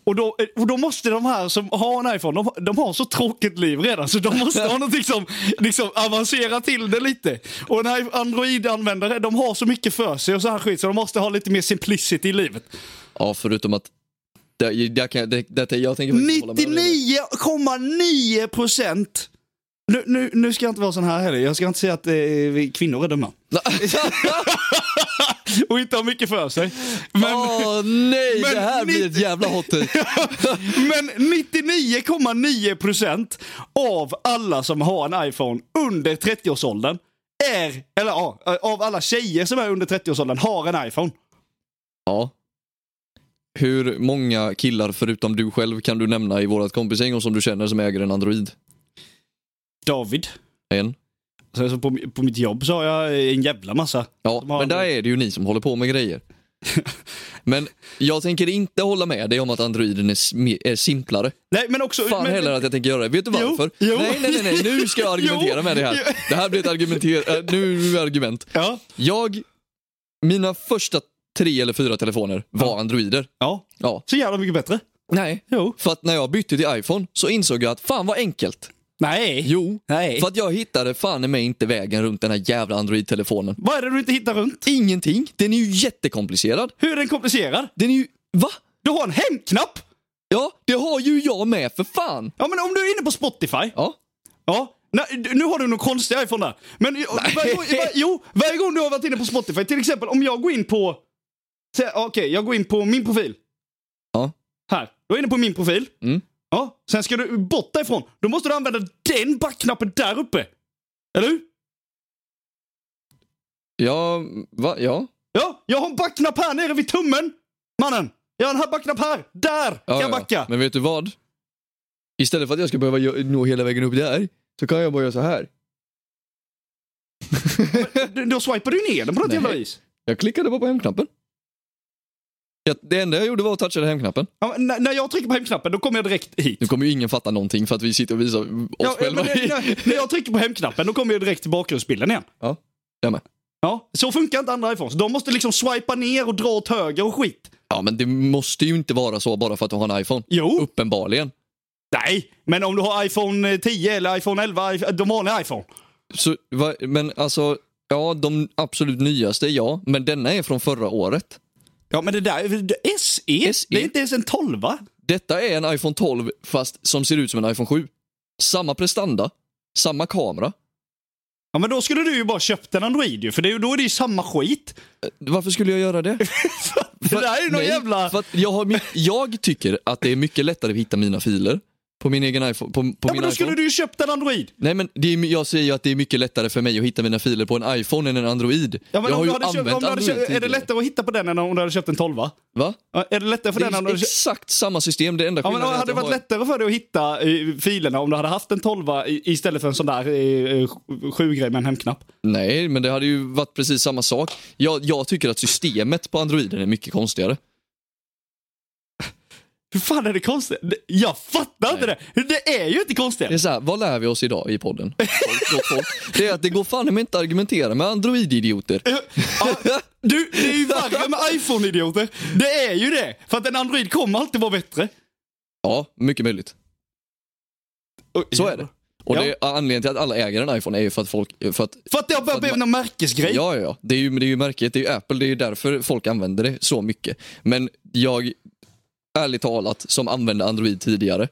Och då, och då måste de här som har en iPhone, de, de har så tråkigt liv redan så de måste ha någonting som liksom avancerar till det lite. Och en i- Android-användare, de har så mycket för sig och så här skit så de måste ha lite mer simplicity i livet.
Ja, förutom att... Där, där kan jag, det, det, jag tänker faktiskt hålla med om det.
99,9 procent. Nu, nu, nu ska jag inte vara sån här heller. Jag ska inte säga att eh, vi kvinnor är dumma. Och inte har mycket för sig. Men,
Åh nej,
men
det här blir ett
90
jävla hot take.
men 99,9 procent av alla som har en iPhone under 30-årsåldern är, eller ja, eh, av alla tjejer som är under 30-årsåldern har en iPhone.
Ja. Hur många killar förutom du själv kan du nämna i vårat kompisgäng och som du känner som äger en Android?
David.
En?
Sen så på, på mitt jobb så har jag en jävla massa.
Ja,
De har
men där är det ju ni som håller på med grejer. Men jag tänker inte hålla med dig om att androiden är, sm- är simplare.
Nej, men också...
Fan
men,
heller att jag tänker göra det. Vet du
Jo,
varför?
jo.
Nej, nej, nej, nej, nu ska jag argumentera
Jo,
med dig
jo.
här. Det här blir ett argumenter- äh, nu är argument.
Ja,
Jag, mina första tre eller fyra telefoner var androider.
ja.
Ja.
Så jävla mycket bättre.
Nej.
Jo.
För att när jag bytte till iPhone så insåg jag att fan vad enkelt.
Nej.
Jo.
Nej.
För att jag hittade fan i mig inte vägen runt den här jävla Android-telefonen.
Vad är det du inte hittar runt?
Ingenting. Den är ju jättekomplicerad.
Hur är den komplicerad?
Den är ju... Va?
Du har en hemknapp!
Ja, det har ju jag med för fan.
Ja, men om du är inne på Spotify.
Ja.
Ja. Nej, du- nu har du någon konstig iPhone där. Men varje, gång- var, jo, varje gång du har varit inne på Spotify, till exempel om jag går in på... Sä- Okej, jag går in på min profil.
Ja.
Här. Du är inne på min profil.
Mm.
Ja. Sen ska du bort därifrån. Då måste du använda den backknappen där uppe. Eller hur?
Ja, va? Ja.
Ja, jag har en backknapp här nere vid tummen. Mannen, jag har en här backknapp här. Där
ja
kan jag backa.
Ja. Men vet du vad? Istället för att jag ska behöva gö- nå hela vägen upp där, så kan jag bara göra så här.
Du- Då swipar du ner den på något
Nej.
jävla vis.
Jag klickade bara på hemknappen. Jag, det enda jag gjorde var att toucha hemknappen.
Ja, men när, när jag trycker på hemknappen då kommer jag direkt hit.
Nu kommer ju ingen fatta någonting för att vi sitter och visar oss
Ja, men
själva.
när, när- när jag trycker på hemknappen då kommer jag direkt till bakgrundsbilden igen.
Ja, jag med.
Ja, så funkar inte andra iPhones. De måste liksom swipa ner och dra åt höger och skit.
Ja, men det måste ju inte vara så bara för att du har en iPhone.
Jo,
Uppenbarligen.
nej. Men om du har iPhone 10 eller iPhone 11, i- de vanliga iPhone.
Så, va, men alltså, ja, de absolut nyaste, ja. Men denna är från förra året.
Ja, men det där, SE,
SE.
det är inte ens en 12 va?
Detta är en iPhone 12 fast som ser ut som en iPhone 7. Samma prestanda, samma kamera.
Ja, men då skulle du ju bara köpt en Android ju, för det, är ju- då är det ju samma skit.
Varför skulle jag göra det?
det där är ju någon jävla...
För att jag, har, my- jag tycker att det är mycket lättare att hitta mina filer på min egen iPhone. På, på
ja,
min
men då
iPhone.
skulle du ju köpt en Android.
Nej, men det är, my- jag säger ju att det är mycket lättare för mig att hitta mina filer på en iPhone än en Android.
Ja, men om
jag har
du
ju
hade köpt-
använt
om du hade
Android
köpt- Är det
tidigare.
lättare att hitta på den än om du hade köpt en 12 va?
Va?
Ja, Är det lättare för
Det
den än om du
är
hade köpt...
exakt samma system, det enda
Ja, men
skillnaden är att
hade det
jag
varit
har-
lättare för dig att hitta eh, filerna om du hade haft en 12 i- istället för en sån där eh, sju grej med en hemknapp?
Nej, men det hade ju varit precis samma sak. Jag, jag tycker att systemet på Androiden är mycket konstigare.
Hur fan är det konstigt? Det- Jag fattar inte det! Det är ju inte konstigt!
Det är så här, vad lär vi oss idag i podden? Folk, gott folk. Det är att det går fan med inte att argumentera med Android-idioter.
Eh, Ja, du, det är ju värre med iPhone-idioter! Det är ju det! För att en Android kommer alltid vara bättre.
Ja, mycket möjligt. Så är det. Och
Ja.
det är anledningen till att alla äger en iPhone är ju för att folk... För att,
För att det har börjat bli någon märkesgrej.
ja, ja, ja. Det är, ju, det är ju märket, det är ju Apple, det är ju därför folk använder det så mycket. Men jag, ärligt talat, som använde Android tidigare.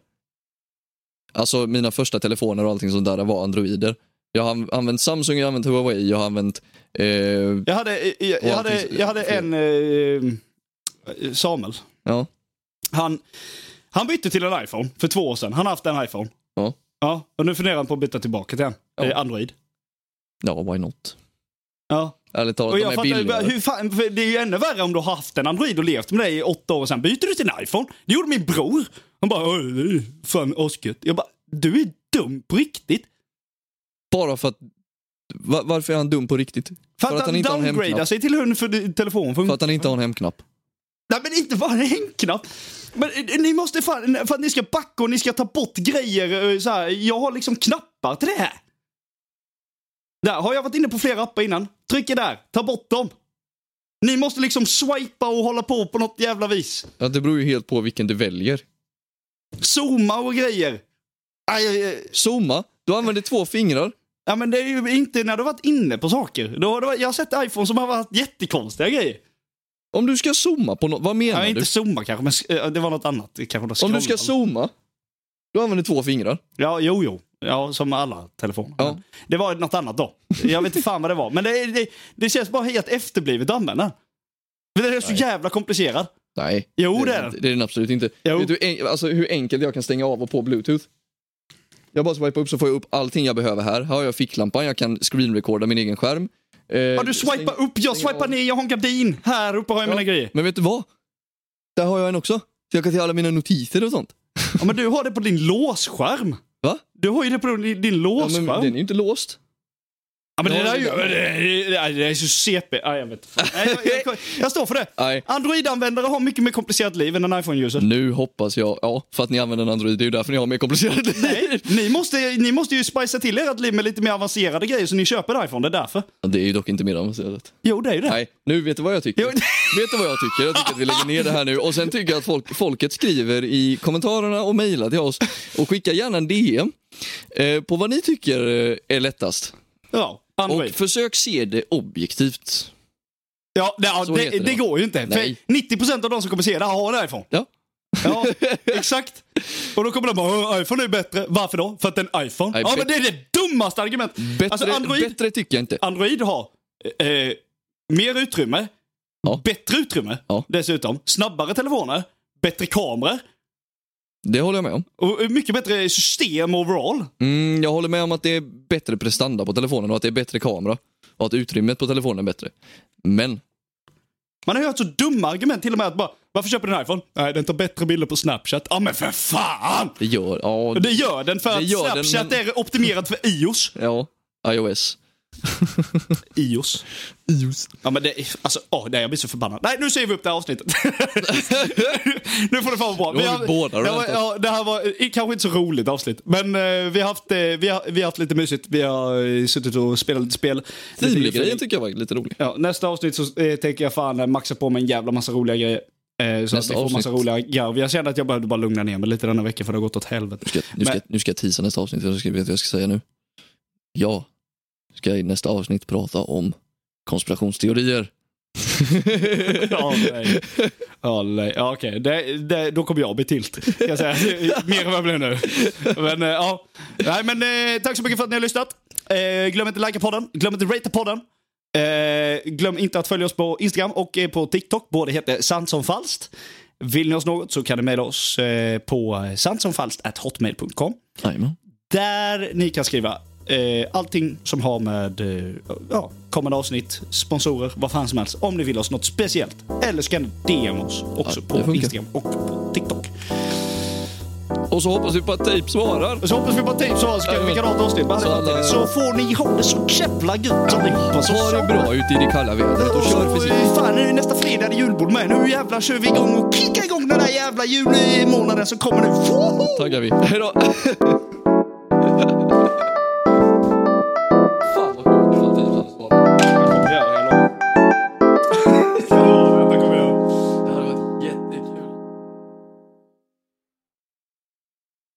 Alltså mina första telefoner och allting sånt där var Androider. Jag har an- använt Samsung, jag har använt Huawei, jag har använt... Eh,
Jag hade, eh, jag,
Och
jag
allting
hade,
så-
jag hade en... Eh, Samuel.
ja.
Han, han bytte till en iPhone för två år sedan. Han har haft en iPhone.
Ja.
Ja, och nu funderar han på att byta tillbaka till en.
Ja.
Eh, Android.
ja, why not?
Ja.
Ärligt talat,
Och
de
jag
är
fattar ju bara,
billigare.
hur fan, för det är ju ännu värre om du har haft en Android och levt med det i åtta år och sen byter du till en iPhone. Det gjorde min bror. Han bara, "Åh, det är fan asgött. Jag bara, du är dum på riktigt.
Bara för att... Va, varför är han dum på riktigt?
För,
För
att,
att han inte har en
han downgradar
hemknapp.
sig till hur för telefon
För
funkar.
att han inte har en hemknapp.
Nej men inte bara en knapp. Men eh, ni måste fan, för att ni ska backa och ni ska ta bort grejer. eh, Så här. Jag har liksom knappar till det här. Där har jag varit inne på flera appar innan. Trycker där, ta bort dem. Ni måste liksom swipa och hålla på på något jävla vis.
Ja, det beror ju helt på vilken du väljer.
Zooma och grejer. Aj, aj, aj.
Zooma, du använder två fingrar.
Ja men det är ju inte när du har varit inne på saker. Då har du, jag har sett iPhone som har varit jättekonstiga grejer.
Om du ska zooma på något, vad menar
Ja,
du?
inte zooma kanske, men eh, det var något annat. Det Kanske då
Om du ska
scrollar.
zooma, du använder två fingrar.
Ja, jo, jo. Ja, som alla telefoner.
Ja.
Men Det var något annat då. Jag vet inte fan vad det var. Men det, det, det känns bara helt efterblivet att använda. Men den är så jävla komplicerad.
Nej,
Jo, det
det,
är
det
den.
är den absolut inte.
Jo.
Vet du en, alltså, hur enkelt jag kan stänga av och på bluetooth? Jag bara swipar upp så får jag upp allting jag behöver här. Här har jag ficklampan, jag kan screenrecorda min egen skärm. Eh,
Ja, du swipar upp, jag
stäng
swipar
av.
ner, jag har en gardin. Här uppe har jag mina grejer.
Men vet du vad? Där har jag en också. Så jag kan se alla mina notiser och sånt.
Ja, men du har det på din låsskärm.
Va?
Du har ju det på din, din
Ja, men
låsskärm. Ja,
den
men,
är ju inte låst.
det
Ja,
där är ju...
det där.
Det, det, det är så CP. Ja, jag vet. Nej, jag, jag, jag står för det.
Nej.
Android-användare har mycket mer komplicerat liv än en iPhone-user.
Nu hoppas jag, ja, för att ni använder en Android, det är ju därför ni har mer komplicerade
Nej, ni måste, ni måste ju spicea till ert liv med lite mer avancerade grejer så ni köper iPhone, det är därför.
Det är ju dock inte mer avancerat.
Jo, det är ju det.
Nej, nu vet du vad jag tycker?
Jo.
Vet du vad jag tycker? Jag tycker att vi lägger ner det här nu och sen tycker jag att folk, folket skriver i kommentarerna och mejlar till oss och skicka gärna en DM eh, på vad ni tycker eh, är lättast.
Ja,
Och
Android.
försök se det objektivt.
Ja, det, ja,
så
det,
heter det.
det går ju inte.
Nej.
För 90% av de som kommer se det här har en iPhone.
Ja.
Ja, exakt. Och då kommer de bara "Åh, iPhone är bättre. Varför då? För att det är en iPhone.
Nej,
ja,
bet-
men det är det dummaste argumentet.
Bättre,
Alltså, Android-
bättre tycker jag inte.
Android har eh, mer utrymme,
Ja.
bättre utrymme
Ja.
dessutom, snabbare telefoner, bättre kameror
Det håller jag med om.
och mycket bättre system overall.
Mm, jag håller med om att det är bättre prestanda på telefonen och att det är bättre kamera och att utrymmet på telefonen är bättre. Men
Man har hört så dumma argument, till och med att bara, varför köper du en iPhone? Nej, den tar bättre bilder på Snapchat. Ja men för fan!
Det gör, ja,
Och Det gör den för
Det
att
gör den,
Snapchat
men-
är optimerad för iOS.
ja, iOS.
iOS?
iOS.
Ja men det, är- alltså, åh, nej jag blir så förbannad. Nej, nu säger vi upp det här avsnittet. nu får det fan vara bra.
Nu har vi båda
det, var,
rantat.
ja, det här var eh, kanske inte så roligt avsnitt, men eh, vi, har haft, eh, vi, har, vi har haft lite mysigt. Vi har eh, suttit och spelat lite spel. Lite
Trevlig
införning.
grejen tycker jag var lite rolig.
Ja, nästa avsnitt så eh, tänker jag fan eh, maxa på med en jävla massa roliga grejer. Eh, så
Nästa
att vi får massa
avsnitt.
roliga garv. Jag kände att jag behövde bara lugna ner mig lite denna vecka för det har gått åt helvete.
Nu ska, nu ska, nu ska jag teasa nästa avsnitt, jag ska, vet vad jag ska säga nu. Ja, ska jag i nästa avsnitt prata om konspirationsteorier.
Ja, nej. Ja, nej. Ja, okej. Det, det, då kommer jag bli tilt. Kan jag säga. Mer än vad jag blir nu. Men, eh, ja. Nej, men, eh, tack så mycket för att ni har lyssnat. Eh, glöm inte att likea podden. Glöm inte att ratea podden. Eh, glöm inte att följa oss på Instagram och eh, på TikTok. Båda heter Sant som falskt. Vill ni oss något så kan ni mejla oss eh, på santsomfalskt.hotmail.com.
Jajamän.
Där ni kan skriva eh, allting som har med eh, ja, kommande avsnitt, sponsorer, vad fan som helst. Om ni vill oss något speciellt. Eller så kan ni DM oss också
Ja, det
på
funkar.
Instagram och på TikTok.
Och så hoppas vi på att tejp svarar.
Så hoppas vi på tips så ska vi kan ha ett avsnitt. med
Så
alla
alla-
Så får ni ha det så jävla gött allihopa. Så
Ha det bra ute i det kalla vädret och kör
så,
försiktigt.
eh, fan, nu är det nästa fredag det är julbord med. Nu jävlar kör vi igång och kickar igång den där jävla julmånaden som kommer nu. Woho!
Taggar vi. Hejdå! typ